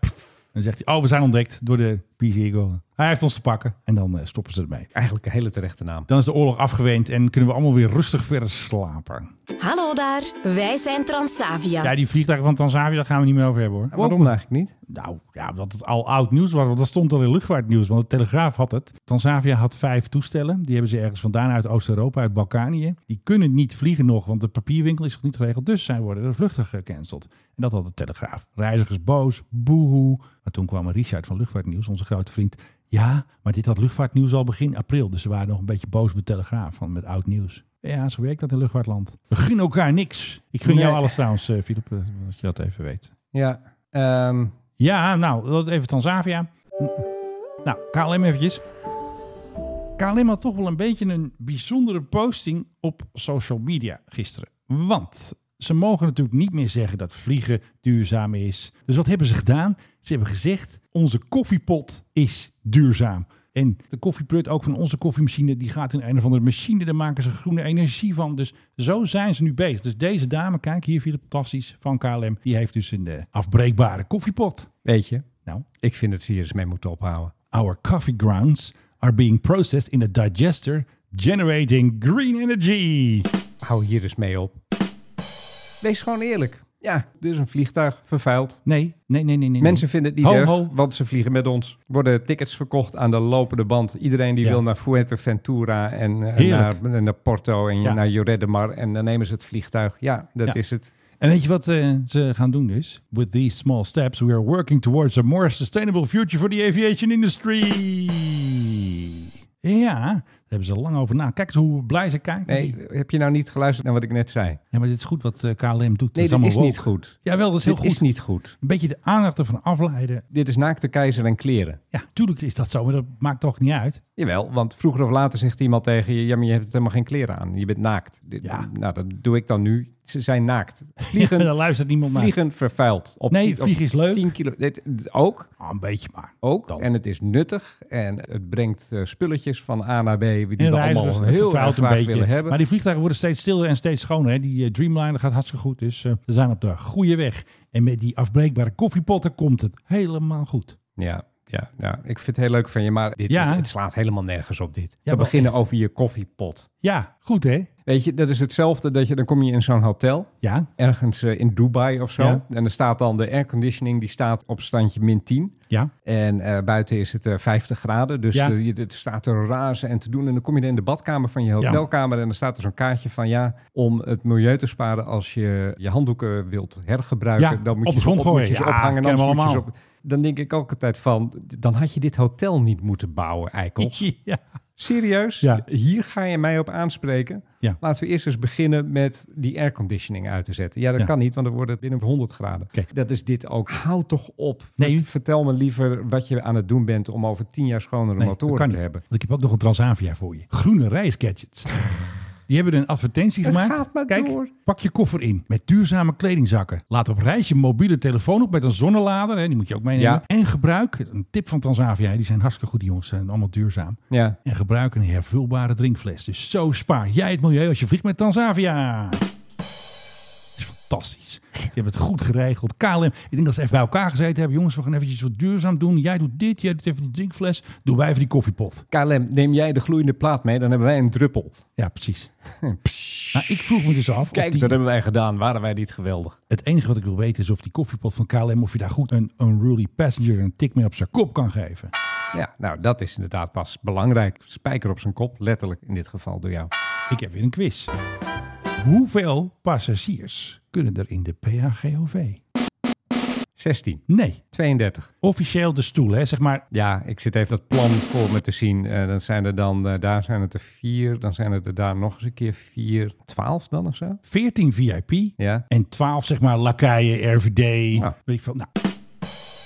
Speaker 1: Dan zegt hij, oh, we zijn ontdekt door de Peace Eagle. Hij heeft ons te pakken. En dan eh, stoppen ze ermee.
Speaker 2: Eigenlijk een hele terechte naam.
Speaker 1: Dan is de oorlog afgewend en kunnen we allemaal weer rustig verder slapen.
Speaker 3: Hallo daar, wij zijn Transavia.
Speaker 1: Ja, die vliegtuigen van Tanzania, daar gaan we niet meer over hebben hoor.
Speaker 2: Waarom eigenlijk niet?
Speaker 1: Nou ja, omdat het al oud nieuws was, want dat stond al in luchtvaartnieuws. Want de Telegraaf had het. Tanzania had vijf toestellen. Die hebben ze ergens vandaan uit Oost-Europa, uit Balkanië. Die kunnen niet vliegen nog, want de papierwinkel is nog niet geregeld. Dus zij worden de vluchten gecanceld. En dat had de Telegraaf. Reizigers boos, boehoe. Maar toen kwam Richard van Luchtvaartnieuws, onze grote vriend. Ja, maar dit had luchtvaartnieuws al begin april. Dus ze waren nog een beetje boos op de Telegraaf van met oud nieuws. Ja, zo werkt dat in luchtvaartland. We gunnen elkaar niks. Ik gun jou
Speaker 2: Nee.
Speaker 1: alles trouwens, eh, Filip, eh, als je dat even weet.
Speaker 2: Ja, ehm,
Speaker 1: Ja, nou, dat even Tanzavia. Nou, KLM eventjes. KLM had toch wel een beetje een bijzondere posting op social media gisteren. Want ze mogen natuurlijk niet meer zeggen dat vliegen duurzaam is. Dus wat hebben ze gedaan? Ze hebben gezegd, onze koffiepot is duurzaam. En de koffieprut ook van onze koffiemachine, die gaat in een of andere machine. Daar maken ze groene energie van. Dus zo zijn ze nu bezig. Dus deze dame, kijk hier, Philip, fantastisch, van KLM. Die heeft dus een eh, afbreekbare koffiepot.
Speaker 2: weet je,
Speaker 1: Nou.
Speaker 2: ik vind dat ze hier eens mee moeten ophouden.
Speaker 1: Our coffee grounds are being processed in a digester, generating green energy.
Speaker 2: Hou hier eens mee op. Wees gewoon eerlijk. Ja, dus een vliegtuig vervuild.
Speaker 1: Nee, nee, nee, nee. nee
Speaker 2: Mensen vinden het niet
Speaker 1: Mm. Ho,
Speaker 2: erg,
Speaker 1: ho.
Speaker 2: want ze vliegen met ons. Worden tickets verkocht aan de lopende band. Iedereen die
Speaker 1: Ja.
Speaker 2: wil naar Fuerteventura en eh,
Speaker 1: Heerlijk.
Speaker 2: naar, naar Porto en
Speaker 1: Ja.
Speaker 2: naar Jorredemar. En dan nemen ze het vliegtuig. Ja, dat
Speaker 1: Ja.
Speaker 2: is het.
Speaker 1: En weet je wat eh, ze gaan doen dus? With these small steps, we are working towards a more sustainable future for the aviation industry. Ja, daar hebben ze lang over na. Kijk eens hoe blij ze kijken.
Speaker 2: Nee, heb je nou niet geluisterd naar wat ik net zei?
Speaker 1: Ja, maar dit is goed wat eh, KLM doet.
Speaker 2: Nee, dat
Speaker 1: allemaal
Speaker 2: is niet
Speaker 1: woke.
Speaker 2: goed.
Speaker 1: Jawel, dat is heel
Speaker 2: Dit
Speaker 1: goed.
Speaker 2: is niet goed.
Speaker 1: Een beetje de aandacht ervan afleiden.
Speaker 2: Dit is naakte keizer en kleren.
Speaker 1: Ja, tuurlijk is dat zo, maar dat maakt toch niet uit.
Speaker 2: Jawel, want vroeger of later zegt iemand tegen je... ja, maar je hebt helemaal geen kleren aan. Je bent naakt. Dit-
Speaker 1: Ja.
Speaker 2: Nou, dat doe ik dan nu. Ze zijn naakt. Vliegen,
Speaker 1: Daar luistert niemand naar.
Speaker 2: vliegen vervuild. Op
Speaker 1: Nee,
Speaker 2: tien- op
Speaker 1: vliegen is leuk.
Speaker 2: 10 kilo, dit- ook,
Speaker 1: Ah, een beetje maar.
Speaker 2: ook.
Speaker 1: Dan.
Speaker 2: En het is nuttig. En het brengt eh, spulletjes van A naar B... die
Speaker 1: En
Speaker 2: we allemaal
Speaker 1: reizigers, het
Speaker 2: heel
Speaker 1: vervuilt
Speaker 2: erg graag willen hebben.
Speaker 1: Maar die vliegtuigen worden steeds stiller en steeds schoner. Hè? Die eh, Dreamliner gaat hartstikke goed, dus eh, we zijn op de goede weg. En met die afbreekbare koffiepotten komt het helemaal goed.
Speaker 2: Ja, ja, ja, ik vind het heel leuk van je, maar dit,
Speaker 1: Ja.
Speaker 2: het slaat helemaal nergens op dit.
Speaker 1: wel
Speaker 2: We beginnen over je koffiepot.
Speaker 1: Ja, goed hè?
Speaker 2: Weet je, dat is hetzelfde dat je, dan kom je in zo'n hotel,
Speaker 1: Ja,
Speaker 2: ergens eh, in Dubai of zo.
Speaker 1: Ja.
Speaker 2: En er staat dan de airconditioning, die staat op standje min 10.
Speaker 1: ja.
Speaker 2: En eh, buiten is het eh, 50 graden, dus
Speaker 1: Ja.
Speaker 2: eh, je- het staat te razen en te doen. En dan kom je in de badkamer van je
Speaker 1: Ja.
Speaker 2: hotelkamer en dan staat er zo'n kaartje van ja, om het milieu te sparen als je je handdoeken wilt hergebruiken,
Speaker 1: Ja,
Speaker 2: dan moet
Speaker 1: op de
Speaker 2: je ze
Speaker 1: grond
Speaker 2: op-
Speaker 1: gooien.
Speaker 2: moet je ze
Speaker 1: Ja,
Speaker 2: ophangen. en
Speaker 1: kennen we
Speaker 2: anders moet je ze
Speaker 1: allemaal.
Speaker 2: op- Dan denk ik ook altijd van, dan had je dit hotel niet moeten bouwen, eikels.
Speaker 1: ja.
Speaker 2: Serieus?
Speaker 1: Ja.
Speaker 2: Hier ga je mij op aanspreken.
Speaker 1: Ja.
Speaker 2: Laten we eerst eens beginnen met die airconditioning uit te zetten. Ja, dat
Speaker 1: Ja.
Speaker 2: kan niet, want dan wordt het binnen op 100 graden.
Speaker 1: Kijk.
Speaker 2: Dat is dit ook. Hou toch op.
Speaker 1: Nee.
Speaker 2: Wat- vertel me liever wat je aan het doen bent om over 10 jaar
Speaker 1: Nee,
Speaker 2: schonere
Speaker 1: dat
Speaker 2: motoren
Speaker 1: kan
Speaker 2: te
Speaker 1: niet.
Speaker 2: hebben.
Speaker 1: Want ik heb ook nog een Transavia voor je. Groene reisgadgets. Die hebben een advertentie
Speaker 2: Het
Speaker 1: gemaakt.
Speaker 2: gaat maar
Speaker 1: Kijk,
Speaker 2: door.
Speaker 1: pak je koffer in met duurzame kledingzakken. Laat op reis je mobiele telefoon op met een zonnelader. Hè, die moet je ook meenemen.
Speaker 2: Ja.
Speaker 1: En gebruik, een tip van Transavia, hè, die zijn hartstikke goed die jongens, zijn allemaal duurzaam.
Speaker 2: Ja.
Speaker 1: En gebruik een hervulbare drinkfles. Dus zo spaar jij het milieu als je vliegt met Transavia. Dat is fantastisch. Je hebt het goed geregeld. KLM, ik denk dat ze even bij elkaar gezeten hebben. Jongens, we gaan eventjes wat duurzaam doen. Jij doet dit, jij doet even die drinkfles. Doen wij even die koffiepot.
Speaker 2: KLM, neem jij de gloeiende plaat mee, dan hebben wij een druppel.
Speaker 1: Ja, precies. Maar ik vroeg me dus af.
Speaker 2: Kijk,
Speaker 1: of die,
Speaker 2: dat hebben wij gedaan. Waren wij niet geweldig?
Speaker 1: Het enige wat ik wil weten is of die koffiepot van KLM... of je daar goed een unruly passenger een tik mee op zijn kop kan geven.
Speaker 2: Ja, nou, dat is inderdaad pas belangrijk. Spijker op zijn kop, letterlijk in dit geval door jou.
Speaker 1: Ik heb weer een quiz. Hoeveel passagiers kunnen er in de PHGOV?
Speaker 2: 16,
Speaker 1: Nee,
Speaker 2: 32.
Speaker 1: officieel de stoel, hè? zeg maar
Speaker 2: Ja, ik zit even dat plan voor me te zien. Eh, dan zijn er dan, eh, daar zijn het er vier. Dan zijn het er daar nog eens een keer vier. Twaalf dan of zo?
Speaker 1: 14 VIP
Speaker 2: Ja.
Speaker 1: en 12 zeg maar lakaien, RVD,
Speaker 2: Ja.
Speaker 1: weet ik veel. Nou.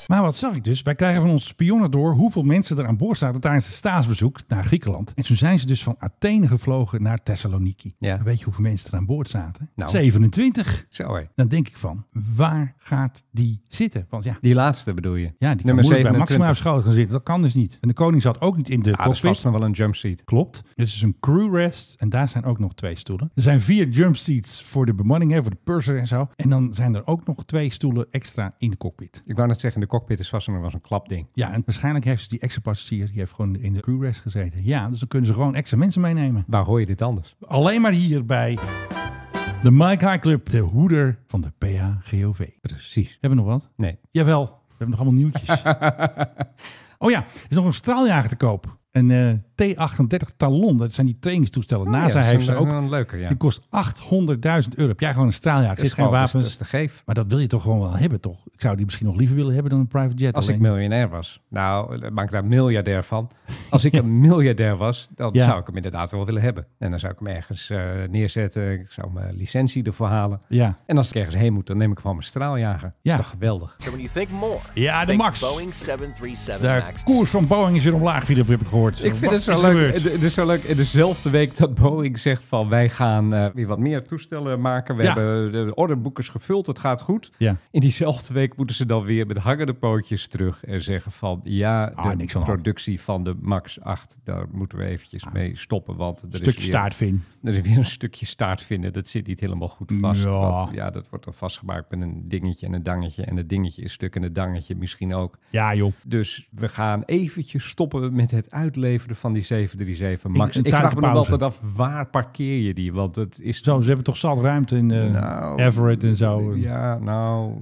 Speaker 1: Maar wat zag ik dus? Wij krijgen van onze spionnen door hoeveel mensen er aan boord zaten tijdens het staatsbezoek naar Griekenland. En toen zijn ze dus van Athene gevlogen naar Thessaloniki.
Speaker 2: Ja.
Speaker 1: En Weet je hoeveel mensen er aan boord zaten?
Speaker 2: Nou.
Speaker 1: 27.
Speaker 2: Zo hé.
Speaker 1: Dan denk ik van, waar gaat die zitten? Want ja,
Speaker 2: Die laatste bedoel je?
Speaker 1: ja die kan moeilijk bij Maxima op schoot gaan zitten. Dat kan dus niet. En de koning zat ook niet in de
Speaker 2: Ah, dat is
Speaker 1: cockpit.
Speaker 2: vast nog wel een jumpseat.
Speaker 1: Klopt. Dit is een crew rest. En daar zijn ook nog twee stoelen. Er zijn vier jump seats voor de bemanning, hè, voor de purser en zo. En dan zijn er ook nog twee stoelen extra in de cockpit.
Speaker 2: Ik wou net zeggen, de cockpit is vast nog wel een klapding.
Speaker 1: Ja, en waarschijnlijk heeft ze die extra passagier, die heeft gewoon in de crew rest gezeten. Ja, dus dan kunnen ze gewoon extra mensen meenemen.
Speaker 2: Waar hoor je dit anders?
Speaker 1: Alleen maar hier bij de Mike High Club, de hoeder van de PHGOV.
Speaker 2: Precies.
Speaker 1: Hebben we nog wat?
Speaker 2: Nee.
Speaker 1: Jawel. We hebben nog allemaal nieuwtjes. oh ja, er is nog een straaljager te koop. Een eh, T38 Talon. Dat zijn die trainingstoestellen. NASA
Speaker 2: Oh ja, dat
Speaker 1: heeft
Speaker 2: is
Speaker 1: ze
Speaker 2: een-
Speaker 1: ook.
Speaker 2: een leuker, ja.
Speaker 1: Die kost 800.000 euro. Heb jij gewoon een straaljager? Er
Speaker 2: Dat is
Speaker 1: zit geen
Speaker 2: gewoon- dat is-
Speaker 1: wapens.
Speaker 2: dat is te geef.
Speaker 1: Maar dat wil je toch gewoon wel hebben, toch? Ik zou die misschien nog liever willen hebben dan een private jet.
Speaker 2: Als ik
Speaker 1: alleen.
Speaker 2: miljonair was. Nou, eh, maak ik daar miljardair van. Als ik een miljardair was, dan
Speaker 1: Ja.
Speaker 2: zou ik hem inderdaad wel willen hebben. En dan zou ik hem ergens eh, neerzetten. Ik zou mijn licentie ervoor halen.
Speaker 1: Ja.
Speaker 2: En als ik ergens heen moet, dan neem ik gewoon mijn straaljager.
Speaker 1: Ja.
Speaker 2: Dat is toch geweldig?
Speaker 11: So when you think more,
Speaker 1: Ja, de
Speaker 11: think
Speaker 1: Max.
Speaker 11: Boeing 737
Speaker 1: De
Speaker 11: Max.
Speaker 1: koers van Boeing is weer omlaag, Filip, heb ik gehoord.
Speaker 2: Ik vind
Speaker 1: Wat
Speaker 2: het
Speaker 1: is
Speaker 2: zo
Speaker 1: er
Speaker 2: leuk.
Speaker 1: gebeurd?
Speaker 2: Het het is zo leuk. In dezelfde week dat Boeing zegt van wij gaan eh, weer wat meer toestellen maken. We
Speaker 1: Ja.
Speaker 2: hebben de orderboekers gevuld. Het gaat goed.
Speaker 1: Ja.
Speaker 2: In diezelfde week moeten ze dan weer met hangende pootjes terug en zeggen van ja,
Speaker 1: Ah, niks aan
Speaker 2: de
Speaker 1: de hand. Ah.
Speaker 2: productie van de Max 8, daar moeten we eventjes mee stoppen. Want er
Speaker 1: Stukje
Speaker 2: is weer,
Speaker 1: staartvin.
Speaker 2: Er is weer een stukje staart vinden. Dat zit niet helemaal goed vast.
Speaker 1: Ja.
Speaker 2: Want, ja, dat wordt dan vastgemaakt met een dingetje en een dangetje. En het dingetje is stuk en het dangetje misschien ook.
Speaker 1: Ja, joh.
Speaker 2: Dus we gaan eventjes stoppen met het uitleveren van die 737
Speaker 1: Een-
Speaker 2: Max.
Speaker 1: een
Speaker 2: Ik vraag me dan
Speaker 1: tuinpauze.
Speaker 2: altijd af, waar parkeer je die? Want het is...
Speaker 1: Zo, ze hebben toch zat ruimte in eh,
Speaker 2: Nou,
Speaker 1: Everett en zo.
Speaker 2: Ja, nou...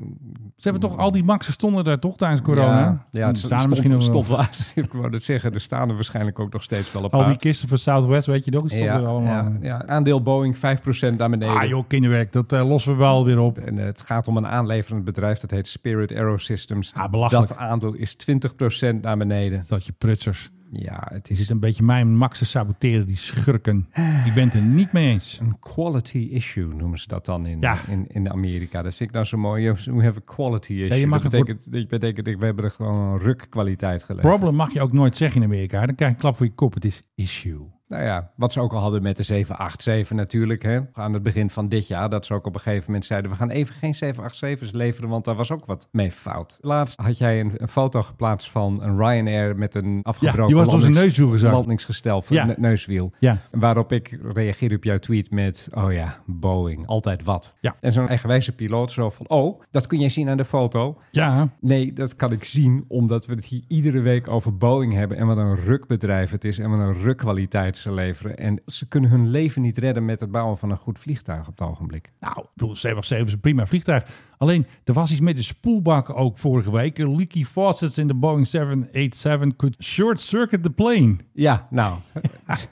Speaker 1: Ze hebben toch al die maxen stonden daar toch tijdens corona?
Speaker 2: Ja, ja het
Speaker 1: Die staan er
Speaker 2: staan misschien
Speaker 1: nog
Speaker 2: stond,
Speaker 1: wel.
Speaker 2: stond wel aan. Ik wou dat zeggen, er staan er waarschijnlijk ook nog steeds wel een
Speaker 1: Al
Speaker 2: paar.
Speaker 1: die kisten van Southwest, weet je nog? Die stonden
Speaker 2: ja,
Speaker 1: er allemaal.
Speaker 2: ja, ja. aandeel Boeing 5% naar beneden.
Speaker 1: Ah joh, kinderwerk, dat eh, lossen we wel weer op.
Speaker 2: En eh, het gaat om een aanleverend bedrijf dat heet Spirit Aerosystems.
Speaker 1: Ah, belachelijk.
Speaker 2: Dat aandeel is 20% naar beneden.
Speaker 1: Dat je prutsers.
Speaker 2: Ja, het
Speaker 1: Je
Speaker 2: is
Speaker 1: zit een beetje mijn maxen saboteren, die schurken. Die bent er niet mee eens.
Speaker 2: Een quality issue noemen ze dat dan in,
Speaker 1: Ja.
Speaker 2: in, in Amerika. Dat vind ik nou zo mooi. We have a quality issue.
Speaker 1: je mag
Speaker 2: dat
Speaker 1: het
Speaker 2: betekent, dat betekent, we hebben er gewoon een rukkwaliteit geleverd.
Speaker 1: Problem mag je ook nooit zeggen in Amerika. Dan krijg je een klap voor je kop. Het is issue.
Speaker 2: Nou ja, wat ze ook al hadden met de 787 natuurlijk. Hè. Aan het begin van dit jaar, dat ze ook op een gegeven moment zeiden... we gaan even geen 787's leveren, want daar was ook wat mee fout. Laatst had jij een, een foto geplaatst van een Ryanair met een afgebroken
Speaker 1: die was op zijn neuswiel gezakt.
Speaker 2: landingsgestel, voor
Speaker 1: Ja.
Speaker 2: ne- neuswiel.
Speaker 1: Ja.
Speaker 2: Waarop ik reageerde op jouw tweet met... oh ja, Boeing, altijd wat.
Speaker 1: Ja.
Speaker 2: En zo'n eigenwijze piloot zo van... oh, dat kun jij zien aan de foto.
Speaker 1: Ja,
Speaker 2: Nee, dat kan ik zien omdat we het hier iedere week over Boeing hebben. En wat een rukbedrijf het is en wat een rukkwaliteit ze leveren. En ze kunnen hun leven niet redden met het bouwen van een goed vliegtuig op het ogenblik.
Speaker 1: nou, ik bedoel, 787 is een prima vliegtuig. Alleen, er was iets met de spoelbak ook vorige week. Leaky faucets in de Boeing 787 could short circuit the plane.
Speaker 2: Ja, nou.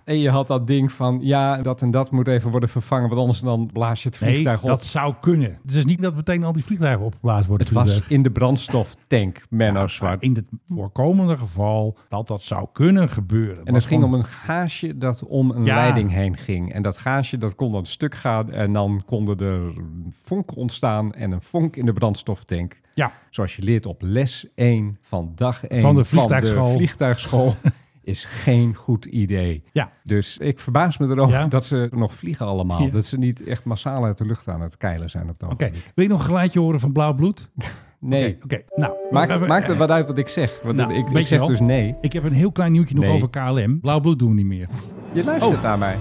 Speaker 2: en je had dat ding van ja, dat en dat moet even worden vervangen. Want anders dan blaas je het
Speaker 1: Nee,
Speaker 2: vliegtuig op.
Speaker 1: dat zou kunnen. Dus het is niet dat meteen al die vliegtuigen opgeblazen worden.
Speaker 2: Het was
Speaker 1: vliegtuig.
Speaker 2: in de brandstoftank, Menno
Speaker 1: Maar
Speaker 2: Zwart.
Speaker 1: in het voorkomende geval dat dat zou kunnen gebeuren.
Speaker 2: En
Speaker 1: dat
Speaker 2: het ging om een gaasje dat om een
Speaker 1: Ja.
Speaker 2: leiding heen ging. En dat gaasje dat kon dan stuk gaan en dan konden er vonken ontstaan en een vonk in de brandstoftank.
Speaker 1: Ja.
Speaker 2: Zoals je leert op les 1 van dag 1
Speaker 1: Van de vliegtuigschool.
Speaker 2: vliegtuigschool, is geen goed idee.
Speaker 1: Ja.
Speaker 2: Dus ik verbaas me erover
Speaker 1: Ja.
Speaker 2: dat ze nog vliegen allemaal.
Speaker 1: Ja.
Speaker 2: Dat ze niet echt massaal uit de lucht aan het keilen zijn op dat
Speaker 1: Oké,
Speaker 2: ogenblik.
Speaker 1: wil je nog een geluidje horen van blauw bloed?
Speaker 2: Nee.
Speaker 1: Oké, oké. nou.
Speaker 2: Maakt,
Speaker 1: even-
Speaker 2: maakt het wat uit wat ik zeg? Want
Speaker 1: Nou,
Speaker 2: ik, ik
Speaker 1: weet je
Speaker 2: zeg
Speaker 1: wel.
Speaker 2: dus nee.
Speaker 1: Ik heb een heel klein nieuwtje nog
Speaker 2: Nee.
Speaker 1: over KLM. Blauw bloed doen we niet meer.
Speaker 2: Je
Speaker 1: Oh.
Speaker 2: luistert naar mij.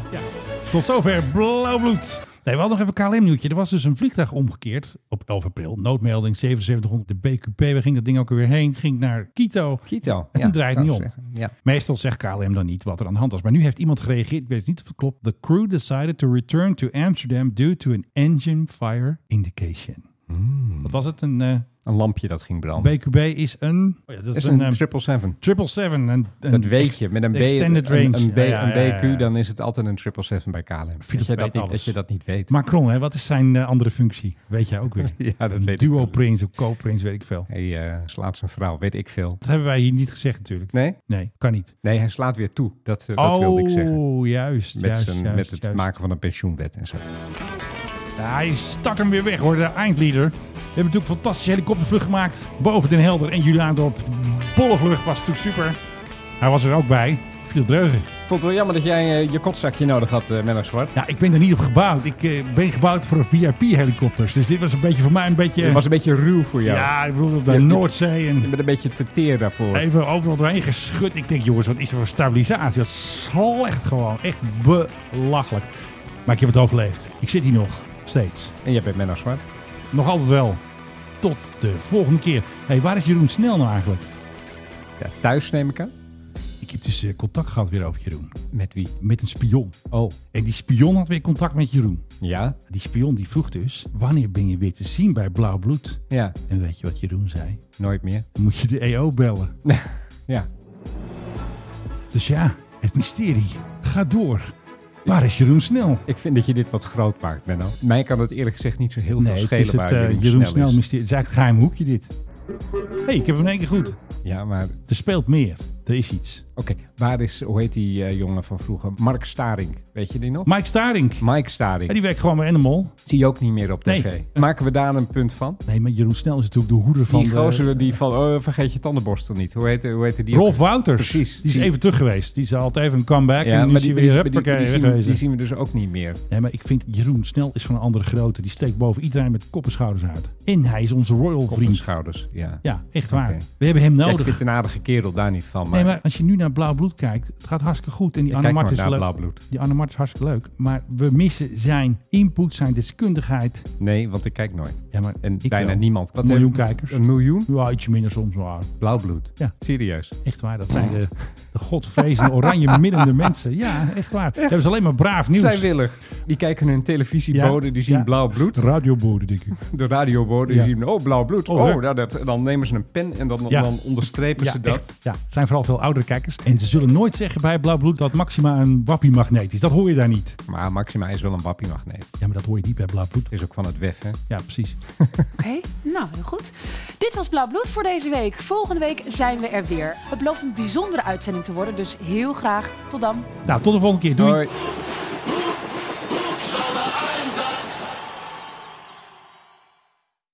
Speaker 1: Tot zover blauw bloed. Nee, we hadden nog even KLM nieuwtje. Er was dus een vliegtuig omgekeerd op 11 april. Noodmelding 7700 de BQP. We gingen dat ding ook weer heen. Ging naar Quito.
Speaker 2: Kito.
Speaker 1: En toen draait het
Speaker 2: kan
Speaker 1: niet
Speaker 2: ik
Speaker 1: om.
Speaker 2: zeggen. Ja.
Speaker 1: Meestal zegt KLM dan niet wat er aan de hand was. Maar nu heeft iemand gereageerd. Ik weet niet of het klopt. The crew decided to return to Amsterdam due to an engine fire indication. Wat was het? Een eh,
Speaker 2: Een lampje dat ging branden.
Speaker 1: BQB is een... Oh ja, dat
Speaker 2: Dat is een,
Speaker 1: eh,
Speaker 2: 777.
Speaker 1: 777. Een, een
Speaker 2: Dat weet je. Met een, B,
Speaker 1: extended
Speaker 2: een-
Speaker 1: range.
Speaker 2: een, B,
Speaker 1: Ja, ja, ja,
Speaker 2: een BQ,
Speaker 1: ja, ja.
Speaker 2: dan is het altijd een 777 bij KLM. Dat je
Speaker 1: weet
Speaker 2: dat, niet,
Speaker 1: alles.
Speaker 2: dat je dat niet weet.
Speaker 1: Macron, hè, wat is zijn eh, andere functie? Weet jij ook weer.
Speaker 2: Ja, dat
Speaker 1: Een
Speaker 2: weet ik wel.
Speaker 1: Duo-prins of co-prins, weet ik veel.
Speaker 2: Hij eh, slaat zijn vrouw, weet ik veel.
Speaker 1: Dat hebben wij hier niet gezegd natuurlijk.
Speaker 2: Nee?
Speaker 1: Nee, kan niet.
Speaker 2: Nee, hij slaat weer toe. Dat, eh, dat wilde ik zeggen.
Speaker 1: Oh, juist.
Speaker 2: Met,
Speaker 1: juist,
Speaker 2: zijn,
Speaker 1: juist,
Speaker 2: met het
Speaker 1: juist.
Speaker 2: maken van een pensioenwet en zo.
Speaker 1: Ja, hij start hem weer weg hoor, de eindleader. We hebben natuurlijk een fantastische helikoptervlucht gemaakt. Boven Den Helder en Juliaandorp. Bolle vlucht was natuurlijk super. Hij was er ook bij. Viel dreugen.
Speaker 2: Ik vond het wel jammer dat jij eh, je kotzakje nodig had, eh Menno Zwart.
Speaker 1: Ja, ik ben er niet op gebouwd. Ik eh, ben gebouwd voor VIP-helikopters. Dus dit was een beetje voor mij een beetje...
Speaker 2: Het was een beetje ruw voor jou.
Speaker 1: ja, ik bedoel op de
Speaker 2: Je- je-
Speaker 1: Noordzee en...
Speaker 2: Je bent een beetje te teer daarvoor.
Speaker 1: Even overal doorheen geschud. Ik denk, jongens, wat is er voor stabilisatie? Dat is slecht gewoon. Echt belachelijk. Maar ik heb het overleefd. Ik zit hier nog. Steeds.
Speaker 2: En jij bent Menno Zwart.
Speaker 1: Nog altijd wel. Tot de volgende keer. hey, waar is Jeroen Snel nou eigenlijk?
Speaker 2: Ja, thuis neem ik aan.
Speaker 1: Ik, dus eh, contact gehad weer over Jeroen.
Speaker 2: Met wie?
Speaker 1: Met een spion.
Speaker 2: Oh.
Speaker 1: En die spion had weer contact met Jeroen.
Speaker 2: Ja?
Speaker 1: Die spion die vroeg dus, wanneer ben je weer te zien bij Blauw Bloed?
Speaker 2: Ja.
Speaker 1: En weet je wat Jeroen zei?
Speaker 2: Nooit meer.
Speaker 1: Dan moet je de EO bellen.
Speaker 2: Ja.
Speaker 1: Dus ja, het mysterie gaat door. Waar is Jeroen Snel?
Speaker 2: Ik vind dat je dit wat groot maakt, Menno. Mij kan het eerlijk gezegd niet zo heel
Speaker 1: Nee,
Speaker 2: veel
Speaker 1: het
Speaker 2: schelen
Speaker 1: is het
Speaker 2: waar
Speaker 1: eh,
Speaker 2: Jeroen,
Speaker 1: Jeroen
Speaker 2: Snel
Speaker 1: Snel
Speaker 2: is.
Speaker 1: mysterie. Het is eigenlijk een geheim hoekje dit. Hé, hey, ik heb hem in één keer goed.
Speaker 2: Ja, maar
Speaker 1: Er speelt meer. Er is iets.
Speaker 2: oké. Waar is, hoe heet die eh, jongen van vroeger? Mark Staring. Weet je die nog?
Speaker 1: Mike Staring.
Speaker 2: Mike Staring.
Speaker 1: En die werkt gewoon bij Animal.
Speaker 2: Zie je ook niet meer op tv.
Speaker 1: Nee.
Speaker 2: Maken we daar een punt van?
Speaker 1: Nee, maar Jeroen Snel is natuurlijk de hoeder van
Speaker 2: die
Speaker 1: de-
Speaker 2: gozer die van, oh, vergeet je tandenborstel niet. Hoe heette, hoe heette die?
Speaker 1: Rolf Wouters.
Speaker 2: Precies.
Speaker 1: Die is
Speaker 2: Die-
Speaker 1: even terug geweest. Die is altijd even een comeback.
Speaker 2: Ja,
Speaker 1: en nu
Speaker 2: maar
Speaker 1: is
Speaker 2: die,
Speaker 1: hij
Speaker 2: die,
Speaker 1: weer
Speaker 2: die, die, die zien, we-
Speaker 1: wegwezen.
Speaker 2: die zien we dus ook niet meer.
Speaker 1: Nee, maar ik vind Jeroen Snel is van een andere grootte. Die steekt boven iedereen met kop en schouders uit. En hij is onze royal
Speaker 2: Op de
Speaker 1: vriend.
Speaker 2: schouders. Ja.
Speaker 1: Ja, echt waar.
Speaker 2: Oké.
Speaker 1: We hebben hem
Speaker 2: Ja, ik
Speaker 1: nodig.
Speaker 2: vind het een aardige kerel daar niet van. Maar,
Speaker 1: Nee, maar als je nu naar Blauw Bloed kijkt, het gaat hartstikke goed. En die Anne
Speaker 2: kijk
Speaker 1: Mart
Speaker 2: maar
Speaker 1: is
Speaker 2: naar
Speaker 1: leuk.
Speaker 2: Blauw Bloed.
Speaker 1: Die Anne Mart is hartstikke leuk. Maar we missen zijn input, zijn deskundigheid.
Speaker 2: Nee, want ik kijk nooit.
Speaker 1: Ja, maar
Speaker 2: En
Speaker 1: ik
Speaker 2: bijna
Speaker 1: wel.
Speaker 2: niemand.
Speaker 1: Een miljoen
Speaker 2: hebben-
Speaker 1: kijkers.
Speaker 2: Een miljoen?
Speaker 1: Ja, ietsje minder soms. Maar
Speaker 2: Blauwbloed.
Speaker 1: Ja.
Speaker 2: Serieus.
Speaker 1: echt waar, dat zijn de, de godvrezende, oranje middende mensen. Ja, echt waar. Hebben ze alleen maar braaf nieuws.
Speaker 2: Vrijwillig. Die kijken hun televisiebode,
Speaker 1: Ja,
Speaker 2: die zien
Speaker 1: ja.
Speaker 2: blauw bloed.
Speaker 1: Radioboden, denk ik.
Speaker 2: De radioboden,
Speaker 1: Ja.
Speaker 2: die zien, oh, blauw bloed.
Speaker 1: Oh,
Speaker 2: Oh,
Speaker 1: leuk.
Speaker 2: nou, dat, dan nemen ze een pen en dan,
Speaker 1: Ja.
Speaker 2: dan onderstrepen ze dat.
Speaker 1: echt. Ja, het zijn vooral veel oudere kijkers. En ze zullen nooit zeggen bij Blauw Bloed dat Maxima een wappiemagneet is. Dat hoor je daar niet.
Speaker 2: Maar Maxima is wel een wappiemagneet.
Speaker 1: Ja, maar dat hoor je niet bij Blauw Bloed.
Speaker 2: Is ook van het WEF, hè?
Speaker 1: Ja, precies.
Speaker 4: Oké, nou heel goed. Dit was Blauw Bloed voor deze week. Volgende week zijn we er weer. Het belooft een bijzondere uitzending te worden, dus heel graag tot dan.
Speaker 1: Nou, tot de volgende keer. Doei.
Speaker 2: Hoi.